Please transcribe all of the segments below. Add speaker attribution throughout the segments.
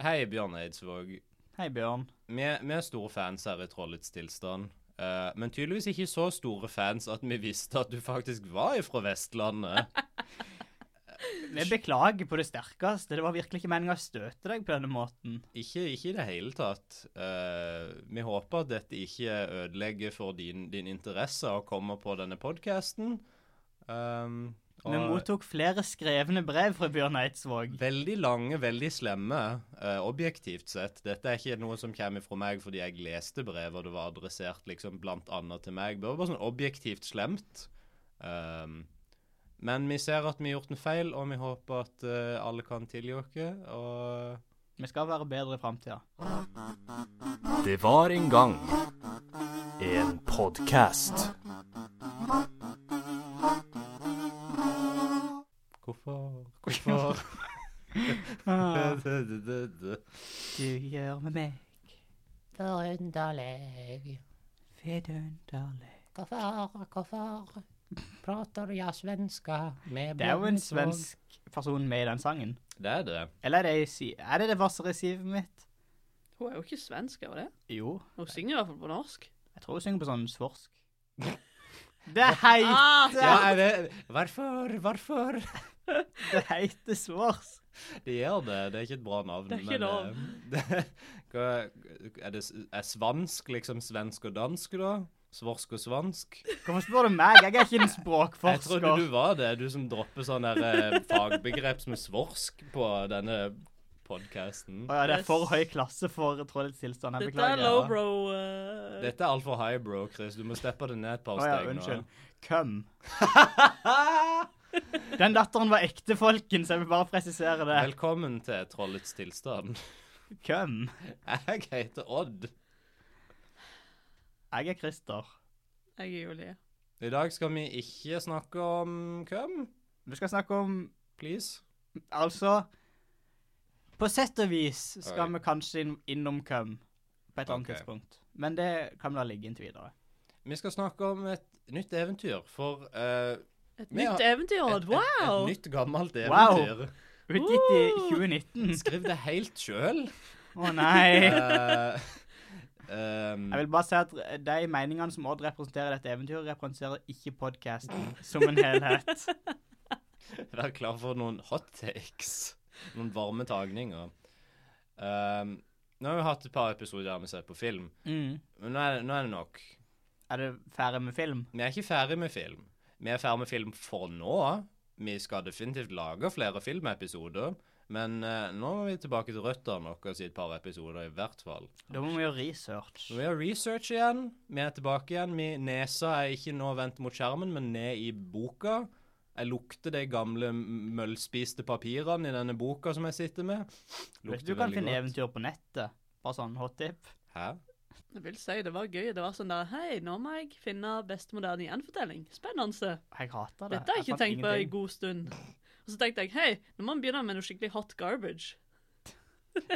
Speaker 1: Hei, Bjørn Eidsvåg.
Speaker 2: Hei, Bjørn.
Speaker 1: Vi, vi er store fans her i Trollets tilstand. Eh, men tydeligvis ikke så store fans at vi visste at du faktisk var ifra Vestlandet.
Speaker 2: Vi beklager på det sterkeste. Det var virkelig ikke meninga å støte deg på denne måten.
Speaker 1: Ikke, ikke i det hele tatt. Eh, vi håper at dette ikke ødelegger for din, din interesse å komme på denne Um, podkasten.
Speaker 2: Vi mottok flere skrevne brev fra Bjørn Eidsvåg.
Speaker 1: veldig lange, veldig slemme, eh, objektivt sett. Dette er ikke noe som kommer fra meg fordi jeg leste brevet, og det var adressert liksom blant annet til meg. Det var bare sånn objektivt slemt. Ehm, men vi ser at vi har gjort en feil, og vi håper at eh, alle kan tilgi oss. Og
Speaker 2: Vi skal være bedre i framtida.
Speaker 3: Det var en gang en podkast.
Speaker 1: hvorfor Hvorfor?
Speaker 2: Du
Speaker 1: Det- det- det- det-
Speaker 2: gjør med meg
Speaker 4: Forunderlig.
Speaker 2: vidunderlig.
Speaker 4: Hvorfor, hvorfor prater jeg svenska med
Speaker 2: Det er jo en
Speaker 4: Bjørn Eidsvåg?
Speaker 2: svensk person med i den sangen.
Speaker 1: Det er det.
Speaker 2: Eller er det, i si- er det det vassere sivet mitt?
Speaker 5: Hun er jo ikke svensk, er hun det?
Speaker 2: Jo.
Speaker 5: Hun synger i hvert fall på norsk.
Speaker 2: Jeg tror hun synger på sånn svorsk. Det heiter,
Speaker 5: Ah,
Speaker 1: Ja, jeg vet Hvorfor? Hvorfor?
Speaker 2: det heiter svorsk.
Speaker 1: Det gjør det. Det er ikke et bra navn.
Speaker 5: Det er ikke
Speaker 1: men, eh, hva- er, det, s- er svansk liksom svensk og dansk, da? Svorsk og svansk?
Speaker 2: Hvorfor spør du meg? Jeg er ikke
Speaker 1: Jeg
Speaker 2: en
Speaker 1: trodde du
Speaker 2: språkforsker.
Speaker 1: var det, du som dropper sånne der, eh, fagbegrep som er svorsk på denne podkasten.
Speaker 2: Å ja, det er for høy klasse for Trollets tilstand. Jeg
Speaker 5: Dette er
Speaker 2: beklager.
Speaker 5: low bro. eh,
Speaker 1: Dette er altfor high, bro, Chris. Du må steppe det ned et par
Speaker 2: Å ja,
Speaker 1: steg
Speaker 2: unnskyld.
Speaker 1: nå.
Speaker 2: Køm. Den latteren var ekte, folkens. Jeg vil bare presisere det.
Speaker 1: Velkommen til Trollets tilstand.
Speaker 2: Køm.
Speaker 1: Jeg heter Odd.
Speaker 2: Jeg er Christer.
Speaker 5: Jeg er Julie.
Speaker 1: I dag skal vi ikke snakke om hvem,
Speaker 2: Vi skal snakke om
Speaker 1: please.
Speaker 2: Altså På sett og vis skal
Speaker 1: Oi.
Speaker 2: vi kanskje inn, innom køm på et annet
Speaker 1: Ok.
Speaker 2: tidspunkt. Men det kan vi la ligge inntil videre.
Speaker 1: Vi skal snakke om et nytt eventyr, for eh,
Speaker 5: Et
Speaker 1: Men ja,
Speaker 5: nytt eventyr,
Speaker 1: et,
Speaker 5: Odd.
Speaker 1: et,
Speaker 5: Wow!
Speaker 1: et nytt gammelt
Speaker 2: Wow.
Speaker 1: eventyr.
Speaker 2: Utgitt i
Speaker 5: Uh.
Speaker 2: 2019.
Speaker 1: Skriv det helt sjøl.
Speaker 2: Å nei.
Speaker 1: Eh, ehm,
Speaker 2: Jeg vil bare si at de meningene som Odd representerer i dette eventyret, representerer ikke podkasten som en helhet.
Speaker 1: Vær klar for noen hot takes. Noen varme tagninger. Ehm, nå har vi hatt et par episoder der vi ser på film,
Speaker 2: Mm.
Speaker 1: men nå er, det- nå er det nok.
Speaker 2: Er det ferdig med film?
Speaker 1: Vi er ikke ferdig med film. Vi er ferdig med film for nå. Vi skal definitivt lage flere filmepisoder, men eh, nå må vi tilbake til røttene våre i et par episoder i hvert fall.
Speaker 2: Da må vi gjøre research.
Speaker 1: Så vi har research igjen. Vi er tilbake igjen. Vi, nesa er ikke nå vendt mot skjermen, men ned i boka. Jeg lukter de gamle m- møllspiste papirene i denne boka som jeg sitter med.
Speaker 2: Hvis du kan finne eventyr på nettet, bare sånn hot tip
Speaker 1: Hæ?
Speaker 5: Jeg vil si det var gøy. Det var sånn der Hei, nå må jeg finne beste moderne gjenfortelling. Spennende.
Speaker 2: Jeg hater det.
Speaker 5: Dette har jeg ikke
Speaker 2: fant
Speaker 5: tenkt på i
Speaker 2: ingenting.
Speaker 5: god stund. Og så tenkte jeg hei, nå må vi begynne med noe skikkelig hot garbage.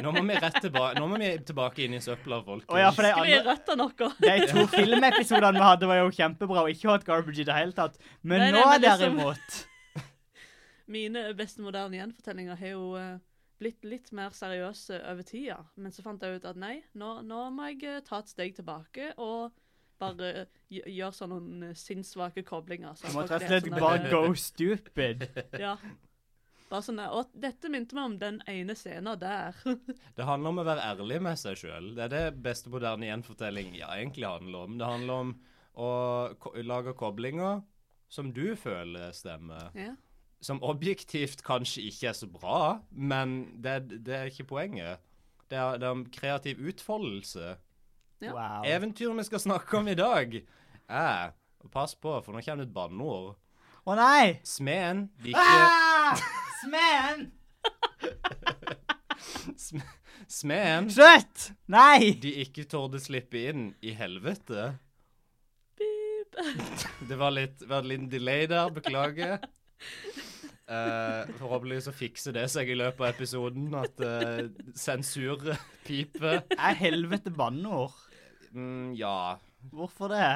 Speaker 1: Nå må vi rett tilbake, nå må vi tilbake inn i søpla, folkens.
Speaker 2: Å ja, for de
Speaker 5: Skal vi
Speaker 2: andre
Speaker 5: rette noe?
Speaker 2: De to filmepisodene vi hadde, var jo kjempebra, og ikke hot garbage i det hele tatt. Men
Speaker 5: Nei, nei,
Speaker 2: nå,
Speaker 5: men liksom-
Speaker 2: derimot
Speaker 5: Mine beste moderne gjenfortellinger har jo eh, blitt litt mer seriøse over tida. Men så fant jeg ut at nei, nå, nå må jeg eh, ta et steg tilbake og bare eh, gj- gjøre sånne noen sinnssvake koblinger. Så
Speaker 2: Du må
Speaker 5: folk
Speaker 2: rett og
Speaker 5: er
Speaker 2: slett
Speaker 5: sånn
Speaker 2: bare
Speaker 5: der,
Speaker 2: go stupid.
Speaker 5: eh, Ja. Bare sånn der, og dette minte meg om den ene scenen der.
Speaker 1: Det handler om å være ærlig med seg sjøl. Det er det beste moderne gjenfortelling ja, egentlig handler om. Det handler om å ko lage koblinger som du føler stemmer.
Speaker 5: ja.
Speaker 1: som objektivt kanskje ikke er så bra, men det, det er ikke poenget. Det er, det er om kreativ utfoldelse.
Speaker 5: Ja.
Speaker 2: Wow. Å
Speaker 1: Eventyret vi skal snakke om i dag, er og Pass på, for nå kommer det et banneord.
Speaker 2: nei!
Speaker 1: Smeden liker
Speaker 2: Ah! Smeden!
Speaker 1: Smeden
Speaker 2: Slutt! Nei!
Speaker 1: de ikke torde slippe inn i helvete.
Speaker 5: Beep.
Speaker 1: Det var litt, det var en liten delay der, beklager. Eh, forhåpentligvis så fikser det seg i løpet av episoden, at eh, sensur piper.
Speaker 2: Er helvete banneord?
Speaker 1: Mm, ja.
Speaker 2: Hvorfor det?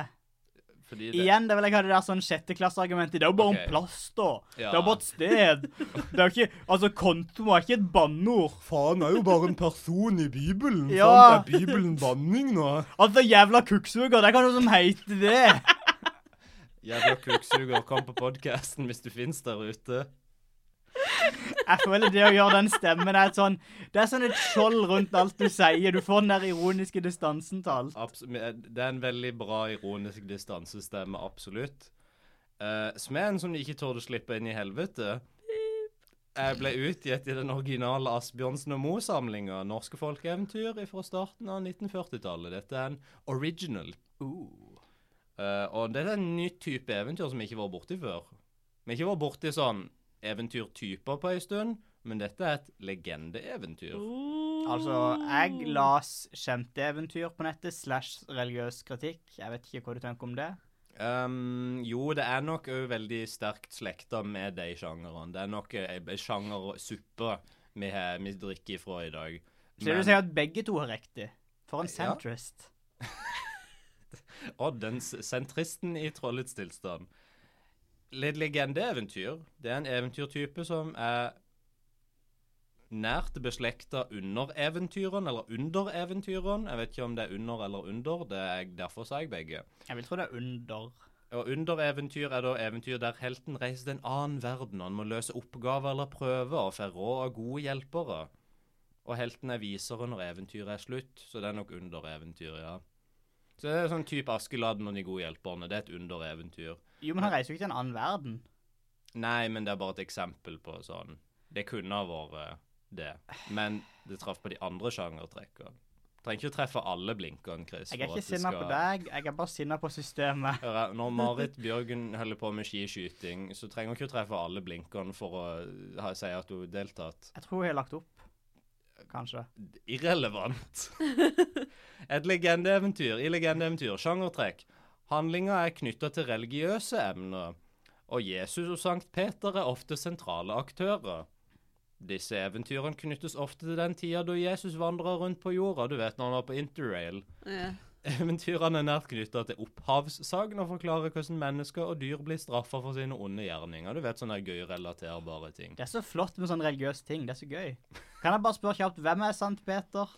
Speaker 1: Fordi det,
Speaker 2: Igjen, det vil jeg ha det der sånn sjetteklasseargumentet. Det er jo bare
Speaker 1: Ok.
Speaker 2: om plass, da.
Speaker 1: Ja.
Speaker 2: Det er bare et sted. Det er jo ikke Altså, konto er ikke et banneord.
Speaker 1: Faen er jo bare en person i Bibelen.
Speaker 2: Ja. sant?
Speaker 1: Er Bibelen banning nå?
Speaker 2: Altså, jævla kukksuger, det kan jo som heite det.
Speaker 1: Jævla kukksuger, kom på podkasten hvis du fins der ute.
Speaker 2: Jeg føler det å gjøre den stemmen er et sånn Det er sånn et skjold rundt alt du sier. Du får den der ironiske distansen til alt.
Speaker 1: Abs men eh, det er en veldig bra ironisk distansestemme, absolutt. Uh, smeden som de ikke torde slippe inn i helvete Jeg ble utgitt i den originale Asbjørnsen og Moe-samlinga, Norske folkeeventyr fra starten av 1940-tallet. Dette er en original.
Speaker 2: Uh.
Speaker 1: Eh, og det er en ny type eventyr som vi ikke var borti før. Vi har ikke vært borti sånn eventyrtyper på ei stund, men dette er et legendeeventyr.
Speaker 5: Oh.
Speaker 2: Altså, jeg las skjemteeventyr på nettet slash religiøs kritikk. Jeg vet ikke hva du tenker om det.
Speaker 1: Um, jo, det er nok òg veldig sterkt slekta med de sjangerene. Det er nok eh, ei ei sjangersuppe vi, har- vi drikker ifra i dag.
Speaker 2: Så det
Speaker 1: Men-
Speaker 2: vil si at begge to har riktig. For en
Speaker 1: Ja.
Speaker 2: centrist.
Speaker 1: Og den s- sentristen i trollets tilstand. Litt legendeeventyr. Det er en eventyrtype som er nært beslekta under eventyrene, eller under eventyrene. Jeg vet ikke om det er under eller under. Det er, derfor sa jeg begge.
Speaker 2: Jeg vil tro det er under.
Speaker 1: Og under eventyr er da eventyr der helten reiser til en annen verden. Han må løse oppgaver eller prøver og får råd av gode hjelpere. Og helten er visere når eventyret er slutt, så det er nok under eventyr, ja. Så det er sånn type Askeladden og de gode hjelperne. Det er et under eventyr.
Speaker 2: Jo, men han reiser jo ikke til en annen verden.
Speaker 1: Nei, men det er bare et eksempel på sånn. Det kunne ha vært det, men det traff på de andre sjangertrekkene. Trenger ikke å treffe alle blinkene, Chris.
Speaker 2: Jeg er
Speaker 1: for
Speaker 2: ikke
Speaker 1: at det
Speaker 2: sinna
Speaker 1: skal-
Speaker 2: på deg, jeg er bare sinna på systemet.
Speaker 1: Hør her, når Marit Bjørgen holder på med skiskyting, så trenger hun ikke å treffe alle blinkene for å ha, si at hun har deltatt.
Speaker 2: Jeg tror jeg har lagt opp. Kanskje.
Speaker 1: Irrelevant. Et legendeeventyr i legendeeventyr. Sjangertrekk. Handlinga er knytta til religiøse emner, og Jesus og Sankt Peter er ofte sentrale aktører. Disse eventyrene knyttes ofte til den tida da Jesus vandra rundt på jorda, du vet når han var på interrail.
Speaker 5: Ja.
Speaker 1: Eventyrene er nært knytta til opphavssaken og forklarer hvordan mennesker og dyr blir straffa for sine onde gjerninger. Du vet sånne gøy relaterbare ting.
Speaker 2: Det er så flott med sånne religiøse ting. Det er så gøy. Kan jeg bare spørre kjapt, hvem er Sant Peter?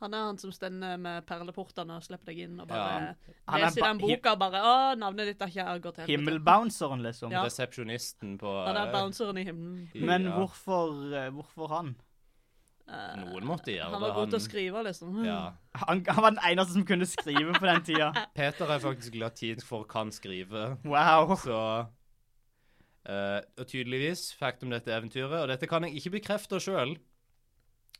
Speaker 5: Han er han som stender med perleportene og slipper deg inn og bare
Speaker 2: Han er
Speaker 5: leser i
Speaker 2: ba-
Speaker 5: den boka og bare Å, navnet ditt har ikke jeg gått
Speaker 2: Himmelbounceren, liksom.
Speaker 5: Ja.
Speaker 1: Resepsjonisten på
Speaker 5: Han er
Speaker 1: eh,
Speaker 5: bounceren i himmelen.
Speaker 1: i-
Speaker 2: Men
Speaker 1: ja,
Speaker 2: hvorfor, eh, hvorfor han?
Speaker 5: Eh,
Speaker 1: Noen måtte gjøre
Speaker 5: han
Speaker 1: det.
Speaker 5: var god til å skrive, liksom.
Speaker 1: Ja.
Speaker 2: han? Han var den eneste som kunne skrive på den tida.
Speaker 1: Peter er faktisk latinsk for 'kan skrive',
Speaker 2: Wow.
Speaker 1: så eh, Og tydeligvis fikk de dette eventyret, og dette kan jeg ikke bekrefte sjøl.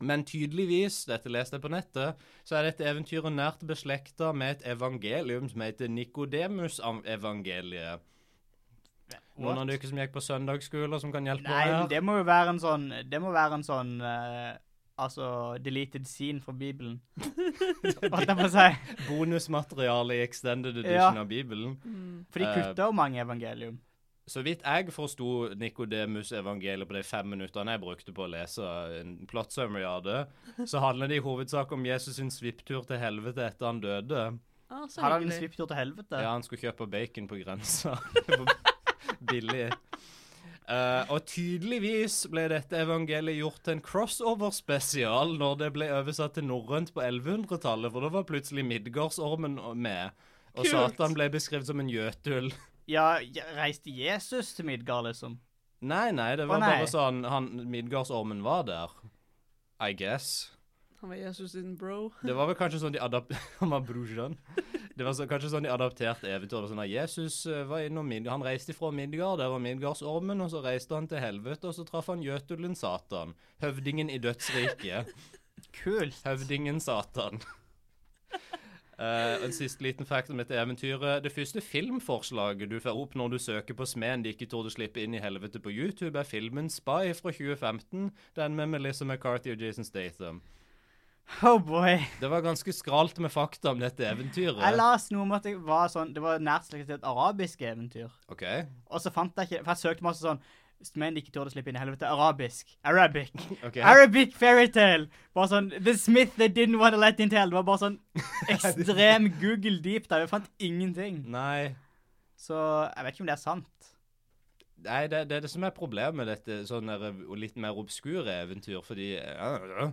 Speaker 1: Men tydeligvis, dette leste jeg på nettet, så er dette eventyret nært beslekta med et evangelium som heter Nikodemus-evangeliet. Noen av dere som gikk på søndagsskole, som kan hjelpe
Speaker 2: Nei, men
Speaker 1: meg her?
Speaker 2: det må jo være en sånn Det må være en sånn eh, Altså deleted scene fra Bibelen. Holdt jeg på å si.
Speaker 1: Bonusmateriale i extended edition
Speaker 2: Ja.
Speaker 1: av Bibelen.
Speaker 2: For de
Speaker 1: Eh,
Speaker 2: kutta jo mange evangelium.
Speaker 1: Så vidt jeg forsto Nikodemus-evangeliet på de fem minuttene jeg brukte på å lese en plot summary av det, så handler det i hovedsak om Jesus sin svipptur til helvete etter han døde.
Speaker 5: Ah, så
Speaker 2: Hadde han en
Speaker 5: hyggelig.
Speaker 2: svipptur til helvete?
Speaker 1: Ja, han skulle kjøpe bacon på grensa. Det var Billig. Eh, og tydeligvis ble dette evangeliet gjort til en crossover-spesial når det ble oversatt til norrønt på 1100-tallet, for da var plutselig Midgardsormen med. Og
Speaker 5: Kult.
Speaker 1: Satan ble beskrevet som en jøtul.
Speaker 2: Ja, ja, reiste Jesus til Midgard, liksom?
Speaker 1: Nei, nei, det var
Speaker 2: Å, nei.
Speaker 1: bare sånn han, Midgardsormen var der. I guess.
Speaker 5: Han var Jesus sin bro.
Speaker 1: Det var vel kanskje sånn de adap... Han var brorsan. Det var så, kanskje sånn de adapterte eventyret. Sånn at Jesus eh, var innom Midgard. Han reiste fra Midgard, der var Midgardsormen, og så reiste han til helvete, og så traff han Jøtulen Satan. Høvdingen i dødsriket.
Speaker 2: Kult.
Speaker 1: Høvdingen Satan. Eh, en siste liten fact om dette eventyret. Det første filmforslaget du får opp når du søker på smeden de ikke torde slippe inn i helvete på YouTube, er filmen Spy fra 2015. Den med Melissa McCarthy og Jason Statham.
Speaker 2: Oh boy.
Speaker 1: Det var ganske skralt med fakta om dette eventyret.
Speaker 2: Jeg las noe om at det var sånn Det var nært slektet til et arabisk eventyr.
Speaker 1: OK.
Speaker 2: Og så fant jeg ikke For jeg søkte masse sånn men de ikke torde å slippe inn i helvete. Arabisk. Arabic.
Speaker 1: Ok.
Speaker 2: Arabic fairytale! Bare sånn The Smith they didn't want to let in tell. Det var bare sånn ekstrem Google deep dive. Jeg fant ingenting.
Speaker 1: Nei.
Speaker 2: Så jeg vet ikke om det er sant.
Speaker 1: Nei, det, det er det som er problemet med dette sånn der, og litt mer obskure eventyr, fordi ja, ja,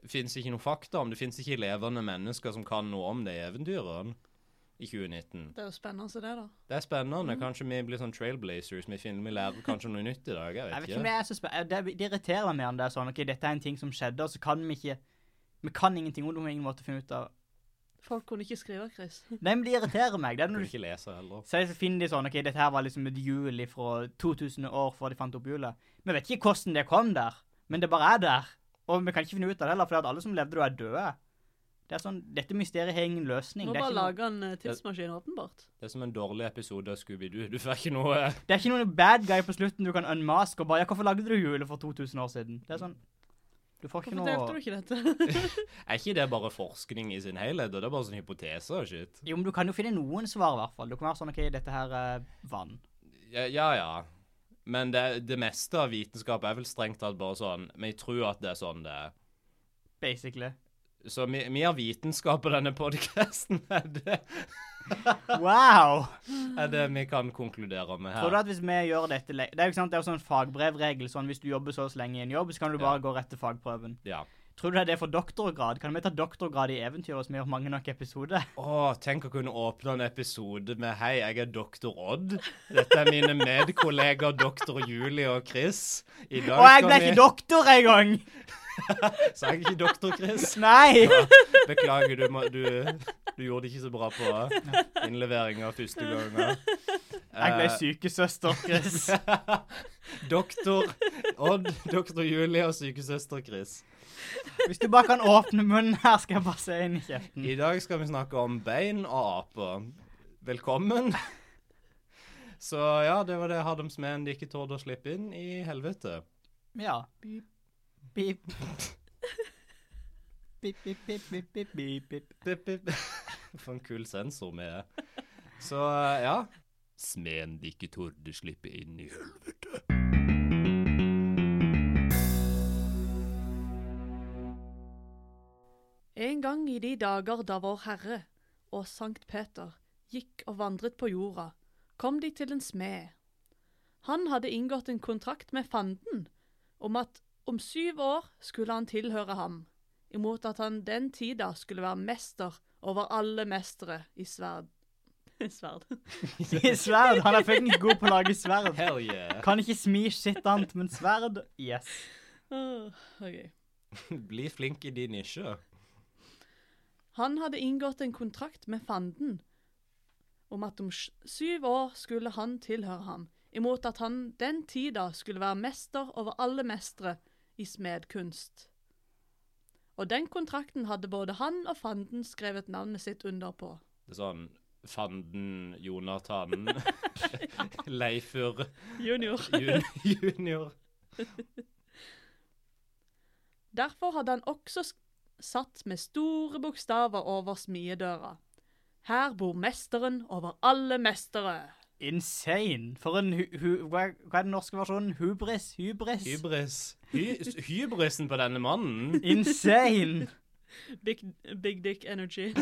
Speaker 1: det fins ikke noe fakta om det. fins ikke levende mennesker som kan noe om det i eventyrene i 2019.
Speaker 5: Det er jo spennende, så det, da.
Speaker 1: Det er spennende.
Speaker 2: Mm.
Speaker 1: Kanskje vi blir sånn trailblazers. Vi, finner, vi lærer kanskje noe nytt i dag. Jeg
Speaker 2: Jeg
Speaker 1: vet
Speaker 2: vet ikke om
Speaker 1: ikke.
Speaker 2: Det er så spe- eh, det, det irriterer meg mer om det er sånn OK, dette er en ting som skjedde, og så kan vi ikke Vi kan ingenting om det på ingen måte finne ut av
Speaker 5: Folk kunne ikke skrive, Chris.
Speaker 2: Nei, men det irriterer meg. Det er
Speaker 1: Jeg
Speaker 2: når
Speaker 1: kan
Speaker 2: du
Speaker 1: ikke lese heller.
Speaker 2: Så jeg finner de sånn OK, dette her var liksom et hjul fra 2000 år før de fant opp hjulet. Vi vet ikke hvordan det kom der, men det bare er der. Og vi kan ikke finne ut av det heller, for alle som levde da, er døde. Det er sånn, Dette mysteriet har ingen løsning.
Speaker 5: Må
Speaker 2: Det er,
Speaker 5: bare
Speaker 2: ikke noe,
Speaker 5: lage en eh, tidsmaskin, åpenbart.
Speaker 1: Det er som en dårlig episode av Scooby-Doo. Du får ikke noe
Speaker 2: det er ikke noen bad guy på slutten du kan unmaske og bare Ja, hvorfor lagde du hjulet for 2000 år siden? Det er sånn Du får ikke
Speaker 5: Hvorfor delte du
Speaker 2: noe
Speaker 5: ikke dette?
Speaker 1: Er ikke det bare forskning i sin helhet? og Det er bare sånn hypoteser og shit.
Speaker 2: Jo, men du kan jo finne noen svar, i hvert fall. Du kan være sånn OK, dette her er vann.
Speaker 1: Ja, ja. ja. Men det, det meste av vitenskap er vel strengt tatt bare sånn Vi tror at det er sånn det er.
Speaker 2: Basically.
Speaker 1: Så vi, vi har vitenskap på denne podkasten, er, det-
Speaker 2: Wow!
Speaker 1: er det vi kan konkludere med
Speaker 2: Tror du
Speaker 1: her.
Speaker 2: at hvis vi gjør dette le- Det er jo ikke sant, det er jo sånn fagbrevregel. sånn Hvis du jobber så og så lenge i en jobb, så kan du bare gå rett til fagprøven.
Speaker 1: Ja.
Speaker 2: Tror du det er det for doktorgrad? Kan vi ta doktorgrad i eventyr hvis vi gjør mange nok episoder?
Speaker 1: Å, tenk å kunne åpne en episode med Hei, jeg er doktor Odd. Dette er mine medkolleger doktor Julie og Chris. I dag
Speaker 2: Og jeg ble
Speaker 1: skal vi-
Speaker 2: ikke doktor engang!
Speaker 1: Sa jeg ikke doktor Chris?
Speaker 2: Nei!
Speaker 1: Beklager, du, må- du, du gjorde det ikke så bra på innleveringa første gangen.
Speaker 2: Jeg ble
Speaker 1: Eh,
Speaker 2: sykesøster, Chris.
Speaker 1: Doktor Odd, doktor Julie og sykesøster Chris.
Speaker 2: Hvis du bare kan åpne munnen her, skal jeg bare se inn i kjeften.
Speaker 1: I dag skal vi snakke om bein og aper. Velkommen. Så ja, det var det Hadams menn de ikke torde å slippe inn i helvete.
Speaker 2: Ja. Pip. Pip, pip, pip, pip, pip, pip, pip.
Speaker 1: Pip, pip. For en kul sensor vi er. Så eh, ja. Smeden de ikke torde slippe inn i helvete.
Speaker 5: En gang i de dager da Vår Herre og Sankt Peter gikk og vandret på jorda, kom de til en smed. Han hadde inngått en kontrakt med fanden om at om syv år skulle han tilhøre ham, imot at han den tida skulle være mester over alle mestere i sverd. sverd.
Speaker 2: I Sverd. Han er fuckings god på å lage sverd.
Speaker 1: Hell yeah.
Speaker 2: Kan ikke smi shit annet, men sverd Yes.
Speaker 5: Åh, ok.
Speaker 1: Bli flink i din nisje.
Speaker 5: Han hadde inngått en kontrakt med fanden om at om sj- syv år skulle han tilhøre ham, imot at han den tida skulle være mester over alle mestere i smedkunst. Og den kontrakten hadde både han og fanden skrevet navnet sitt under på.
Speaker 1: Det er sånn Fanden, Jonathan, Leifur
Speaker 5: Junior.
Speaker 1: jun junior.
Speaker 5: Derfor hadde han også sk- satt med store bokstaver over smiedøra. Her bor mesteren over alle mestere.
Speaker 2: Insane. For en hu hu hva er hva er den norske versjonen? Hubris? Hybris?
Speaker 1: Hybris. Hy hybrisen på denne mannen.
Speaker 2: Insane.
Speaker 5: Big, big dick energy.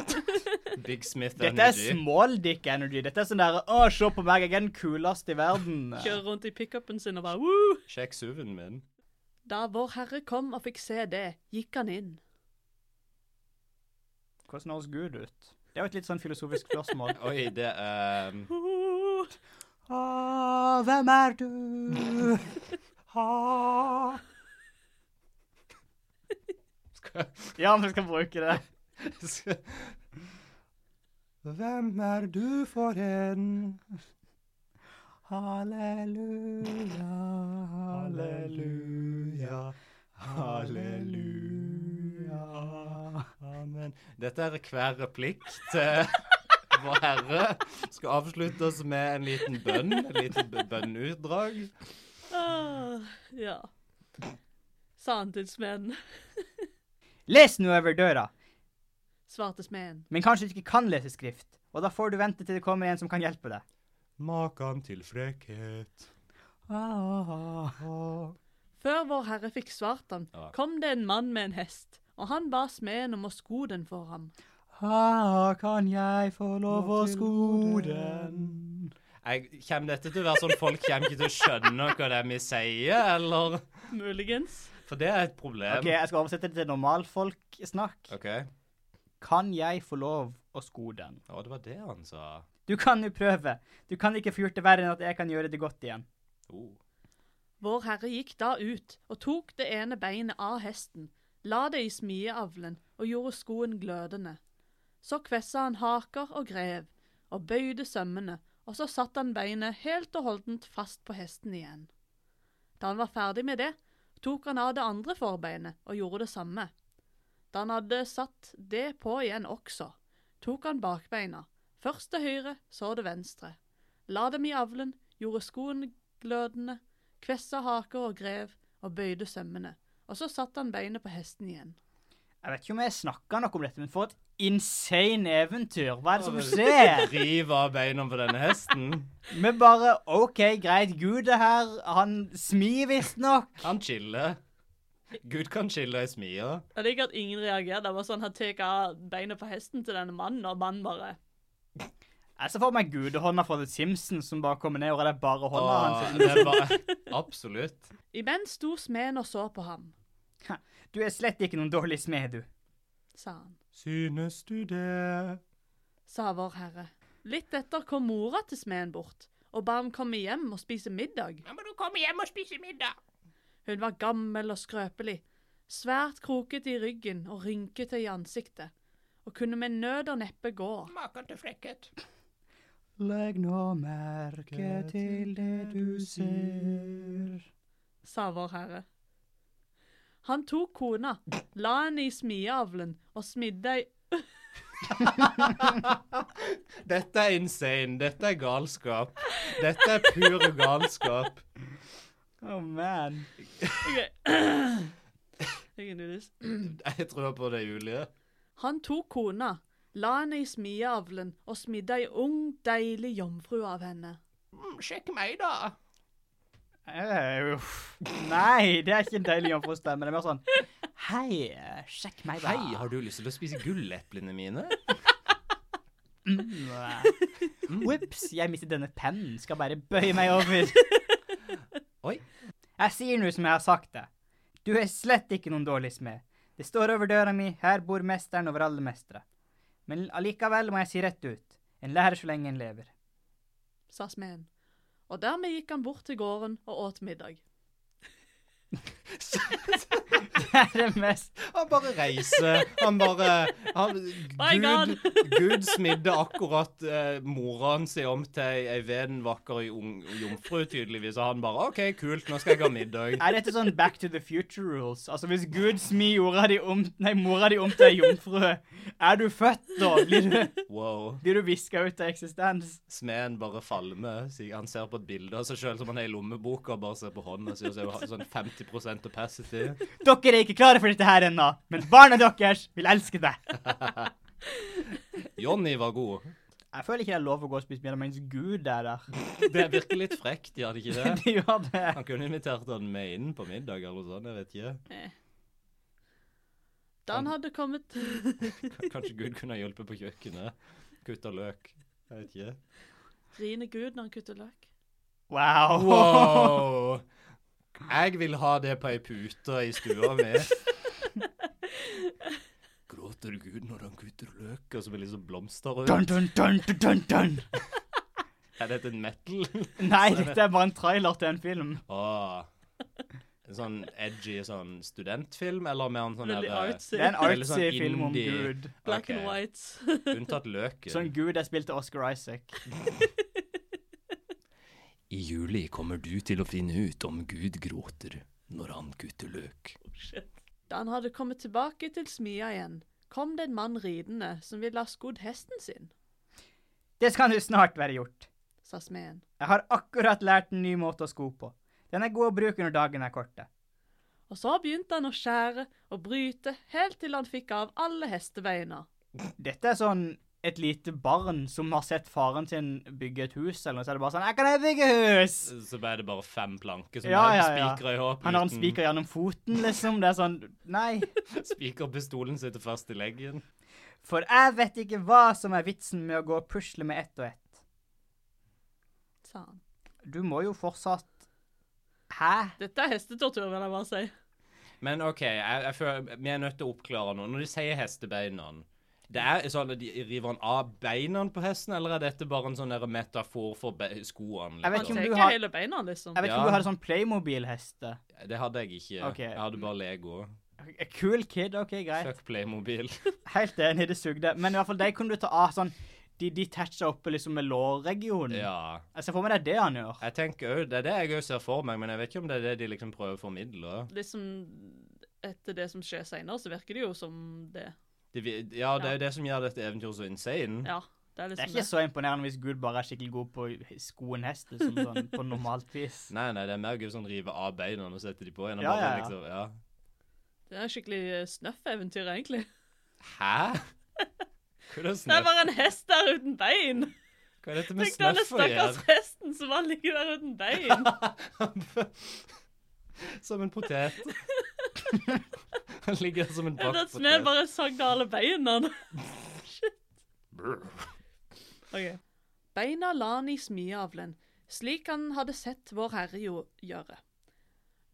Speaker 1: Big Smith
Speaker 2: Dette er
Speaker 1: Energy.
Speaker 2: small dick energy. Dette er sånn derre Å, se på meg, jeg er den kuleste i verden.
Speaker 5: Kjører rundt i pickupen sin og bare woo!
Speaker 1: Sjekk suven min.
Speaker 5: Da vår Herre kom og fikk se det, gikk han inn.
Speaker 2: Hvordan høres Gud ut? Det er jo et litt sånn filosofisk spørsmål.
Speaker 1: Oi, det er um,
Speaker 2: Å, hvem er du?
Speaker 1: skal,
Speaker 2: Ja, vi skal bruke det.
Speaker 1: skal. Hvem er du for en?
Speaker 2: Halleluja, halleluja, halleluja.
Speaker 1: Amen. Dette er hver replikk til Vår Herre. Skal avsluttes med en liten bønn. En liten b- bønnutdrag.
Speaker 5: Ah, ja. Sa han til smeden.
Speaker 2: Les nå over døra.
Speaker 5: Svarte smeden.
Speaker 2: Men kanskje du ikke kan lese skrift, og da får du vente til det kommer en som kan hjelpe deg.
Speaker 1: Makan til frekkhet.
Speaker 5: Før vår herre fikk svart han,
Speaker 1: Ja.
Speaker 5: kom det en mann med en hest, og han ba smeden om å sko den for ham.
Speaker 2: kan jeg få lov å sko den?
Speaker 1: Jeg, kommer dette til å være sånn folk kommer ikke til å skjønne hva det er vi sier, eller?
Speaker 5: Muligens.
Speaker 1: For det er et problem.
Speaker 2: OK, jeg skal oversette det til normalfolksnakk.
Speaker 1: Ok.
Speaker 2: Kan jeg få lov å sko den?
Speaker 1: Å, det var det han sa.
Speaker 2: Du kan jo prøve. Du kan ikke få gjort det verre enn at jeg kan gjøre det godt igjen.
Speaker 1: Oh.
Speaker 5: Vår herre gikk da ut og tok det ene beinet av hesten, la det i smieavlen og gjorde skoen glødende. Så kvessa han haker og grev, og bøyde sømmene, og så satte han beinet helt og holdent fast på hesten igjen. Da han var ferdig med det, tok han av det andre forbeinet og gjorde det samme. Da han hadde satt det på igjen også, tok han bakbeina, først det høyre, så det venstre, la dem i avlen, gjorde skoen glødende, kvessa haker og grev og bøyde sømmene, og så satte han beinet på hesten igjen.
Speaker 2: Jeg vet ikke om jeg snakka noe om dette, men for et insane eventyr. Hva er det som skjer?
Speaker 1: Riv av beina på denne hesten.
Speaker 2: Vi bare OK, greit, Gud er her. Han smir visstnok.
Speaker 1: Han chiller. Gud kan chille i smia.
Speaker 5: Jeg liker at ingen reagerer. Det var sånn han tar av beinet på hesten til denne mannen, og mannen bare
Speaker 2: Jeg ser for meg gudehånda fra The Simpsons som bare kommer ned og det er bare hånda
Speaker 1: Åh,
Speaker 2: hans.
Speaker 1: det er bare Absolutt.
Speaker 5: Imens sto smeden og så på ham,
Speaker 2: Du er slett ikke noen dårlig smed, du.
Speaker 5: sa han,
Speaker 1: Synes du det?
Speaker 5: sa vår herre. Litt etter kom mora til smeden bort og ba ham komme hjem og spise middag.
Speaker 4: Nå må du komme hjem og spise middag.
Speaker 5: Hun var gammel og skrøpelig, svært krokete i ryggen og rynkete i ansiktet, og kunne med nød og neppe gå.
Speaker 4: Maken til frekkhet.
Speaker 2: Legg nå merke til det du ser.
Speaker 5: sa vår herre. Han tok kona, la henne i smiavlen og smidde ei
Speaker 1: Dette er insane. Dette er galskap. Dette er pur galskap.
Speaker 2: Oh man.
Speaker 5: Ok. Jeg er nudist.
Speaker 1: Jeg tror på det, Julie.
Speaker 5: Han tok kona, la henne i smiavlen og smidde ei ung, deilig jomfru av henne.
Speaker 4: Mm, sjekk meg, da.
Speaker 2: Eh, Uff. Nei, det er ikke en deilig jomfrustemme. Det er mer sånn Hei, eh, sjekk meg, da.
Speaker 1: Hei, har du lyst til å spise gulleplene mine?
Speaker 2: Ops, Mm, eh. jeg mistet denne pennen. Skal bare bøye meg over.
Speaker 1: Oi.
Speaker 2: Jeg sier nå som jeg har sagt det. Du er slett ikke noen dårlig smed. Det står over døra mi, her bor mesteren over alle mestere. Men allikevel må jeg si rett ut, en lærer så lenge en lever.
Speaker 5: sa smeden. Og dermed gikk han bort til gården og åt middag.
Speaker 2: Det er det mest
Speaker 1: Han bare reiser. Han bare han,
Speaker 5: My God.
Speaker 1: Gud, Gud smidde akkurat eh, mora si om til ei- ei veden vakker ung jomfru, tydeligvis. Og han bare OK, kult, nå skal jeg ha middag.
Speaker 2: Er dette sånn back to the future rules? Altså, hvis Gud smir jorda di om Nei, mora di om til ei jomfru, er du født da? Blir du,
Speaker 1: Wow.
Speaker 2: blir du viska ut av eksistens?
Speaker 1: Smeden bare falmer. sier- Han ser på et bilde av seg sjøl som han er i lommeboka, og bare ser på hånda si og så er hun sånn 50 opacity.
Speaker 2: Dere er ikke klare for dette her ennå, men barna deres vil elske det.
Speaker 1: Johnny var god.
Speaker 2: Jeg føler ikke det er lov å gå og spise middag mens Gud er der.
Speaker 1: Det virker litt frekt, gjør det ikke det?
Speaker 2: De gjør det.
Speaker 1: Han kunne invitert han med inn på middag eller noe sånt, jeg vet ikke.
Speaker 5: Da han hadde kommet
Speaker 1: K- Kanskje Gud kunne ha hjulpet på kjøkkenet. Kutta løk. Jeg vet ikke.
Speaker 5: Griner Gud når han kutter løk?
Speaker 2: Wow.
Speaker 1: Wow! Jeg vil ha det på ei pute i stua mi. Gråter Gud når han kutter løk, og så blir det liksom blomster
Speaker 2: Dun,
Speaker 1: ut?
Speaker 2: dun, dun, dun, dun, dun.
Speaker 1: Er dette en metal?
Speaker 2: Nei, dette er bare en trailer til en film.
Speaker 1: Åh. En sånn edgy sånn studentfilm, eller mer en sånn
Speaker 5: Veldig
Speaker 1: der, eh,
Speaker 5: artsy.
Speaker 2: Det er en
Speaker 1: Veldig sånn
Speaker 2: artsy film om
Speaker 1: indie.
Speaker 2: Gud.
Speaker 5: Black
Speaker 1: ok,
Speaker 5: and white. Oh,
Speaker 1: Unntatt løken.
Speaker 2: Sånn Gud er spilt av Oscar Isaac.
Speaker 3: I juli kommer du til å finne ut om Gud gråter når han kutter løk.
Speaker 5: Da han hadde kommet tilbake til smia igjen, kom det en mann ridende som ville ha skodd hesten sin,
Speaker 2: Det skal nå snart være gjort.
Speaker 5: sa smeden.
Speaker 2: Jeg har akkurat lært en ny måte å sko på. Den er god å bruke når dagen er korte.
Speaker 5: Og så begynte han å skjære og bryte helt til han fikk av alle hestebeina.
Speaker 2: Dette er sånn et lite barn som har sett faren sin bygge et hus, eller noe, så er det bare sånn 'Jeg kan jeg bygge hus!'
Speaker 1: Så ble det bare fem planker som
Speaker 2: Ja,
Speaker 1: er
Speaker 2: ja, ja.
Speaker 1: spikra i håp.
Speaker 2: Han har en
Speaker 1: uten-
Speaker 2: spiker gjennom foten, liksom. Det er sånn Nei.
Speaker 1: Spiker pistolen sitter fast i leggen.
Speaker 2: For jeg vet ikke hva som er vitsen med å gå og pusle med ett og ett.
Speaker 5: sa han.
Speaker 2: Du må jo fortsatt Hæ?
Speaker 5: Dette er hestetortur, vil jeg bare si.
Speaker 1: Men OK, jeg, jeg føler, vi er nødt til å oppklare noe. Når de sier hestebeina det er sånn at de River han av beina på hesten, eller er dette bare en sånn der metafor for be skoene?
Speaker 2: Jeg vet
Speaker 5: Han
Speaker 1: liksom?
Speaker 2: ikke om
Speaker 5: tar
Speaker 2: du
Speaker 5: ikke
Speaker 2: har-
Speaker 5: hele beina, liksom.
Speaker 2: Jeg vet ikke
Speaker 1: Ja.
Speaker 2: om du hadde sånn Playmobil-heste.
Speaker 1: Det hadde jeg ikke.
Speaker 2: Ok.
Speaker 1: Jeg hadde bare Lego.
Speaker 2: Cool kid, OK, greit.
Speaker 1: Fuck Playmobil.
Speaker 2: Helt enig, det sugde. Men i hvert fall de kunne du ta av sånn De, de tetcha oppe liksom med lårregionen.
Speaker 1: ja.
Speaker 2: Jeg ser for meg det er det han gjør.
Speaker 1: Jeg tenker også, Det er det jeg òg ser for meg, men jeg vet ikke om det er det de liksom prøver å formidle.
Speaker 5: Liksom, etter det som skjer seinere, så virker det jo som det.
Speaker 1: De, vi- ja, det er jo det som gjør dette eventyret så insane.
Speaker 5: Ja, det er
Speaker 2: Det er
Speaker 5: liksom
Speaker 2: ikke så imponerende hvis Gud bare er skikkelig god på å sko en hest, liksom, sånn, på normalt vis.
Speaker 1: Nei, nei, det er mer gøy sånn rive av beina og sette de på igjen. og
Speaker 2: Ja,
Speaker 1: bare
Speaker 2: ja, ja.
Speaker 1: Liksom, ja.
Speaker 5: Det er skikkelig eh, snøff-eventyr, egentlig.
Speaker 1: Hæ? Hva er det
Speaker 5: Det er
Speaker 1: snøff?
Speaker 5: bare en hest der uten bein!
Speaker 1: Hva er dette med
Speaker 5: Tenk deg den
Speaker 1: snøff å
Speaker 5: stakkars hesten som bare ligger der uten bein.
Speaker 1: gjøre? som en potet. Han ligger som en
Speaker 5: Etter
Speaker 1: bakt
Speaker 5: at
Speaker 1: potet.
Speaker 5: smeden bare sagde alle beina.
Speaker 1: Brr.
Speaker 5: Ok. Beina la han i smiavlen, slik han hadde sett vår herre jo gjøre.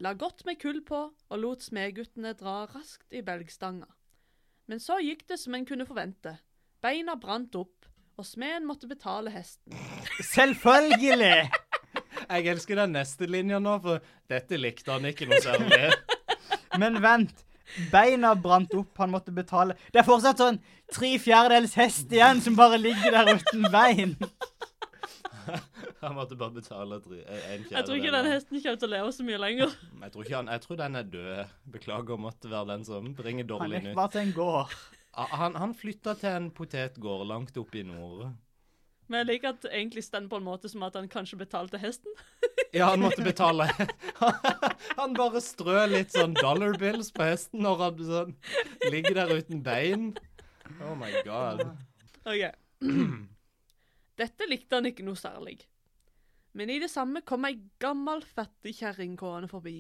Speaker 5: La godt med kull på, og lot smedguttene dra raskt i belgstanga. Men så gikk det som en kunne forvente. Beina brant opp, og smeden måtte betale hesten.
Speaker 2: Selvfølgelig!
Speaker 1: Jeg elsker den neste linja nå, for dette likte han ikke noe særlig.
Speaker 2: Men vent. Beina brant opp, han måtte betale. Det er fortsatt sånn tre fjerdedels hest igjen som bare ligger der uten bein.
Speaker 1: Han måtte bare betale tre, en fjerdedel.
Speaker 5: Jeg tror ikke den hesten kommer til å leve så mye lenger.
Speaker 1: Jeg tror, ikke han, jeg tror den er død. Beklager å måtte være den som bringer
Speaker 2: Han
Speaker 1: dårlig
Speaker 2: gikk
Speaker 1: nytt.
Speaker 2: bare sånn, til en gård.
Speaker 1: Ah, Han, han flytta til en potetgård langt oppe i nord.
Speaker 5: Men jeg liker at det egentlig stender på en måte som at han kanskje betalte hesten.
Speaker 1: Ja, han måtte betale. Han bare strø litt sånn dollar bills på hesten når han sånn ligger der uten bein. Oh my god.
Speaker 5: Ok. Dette likte han ikke noe særlig. Men i det samme kom ei gammel fattig kjerring gående forbi.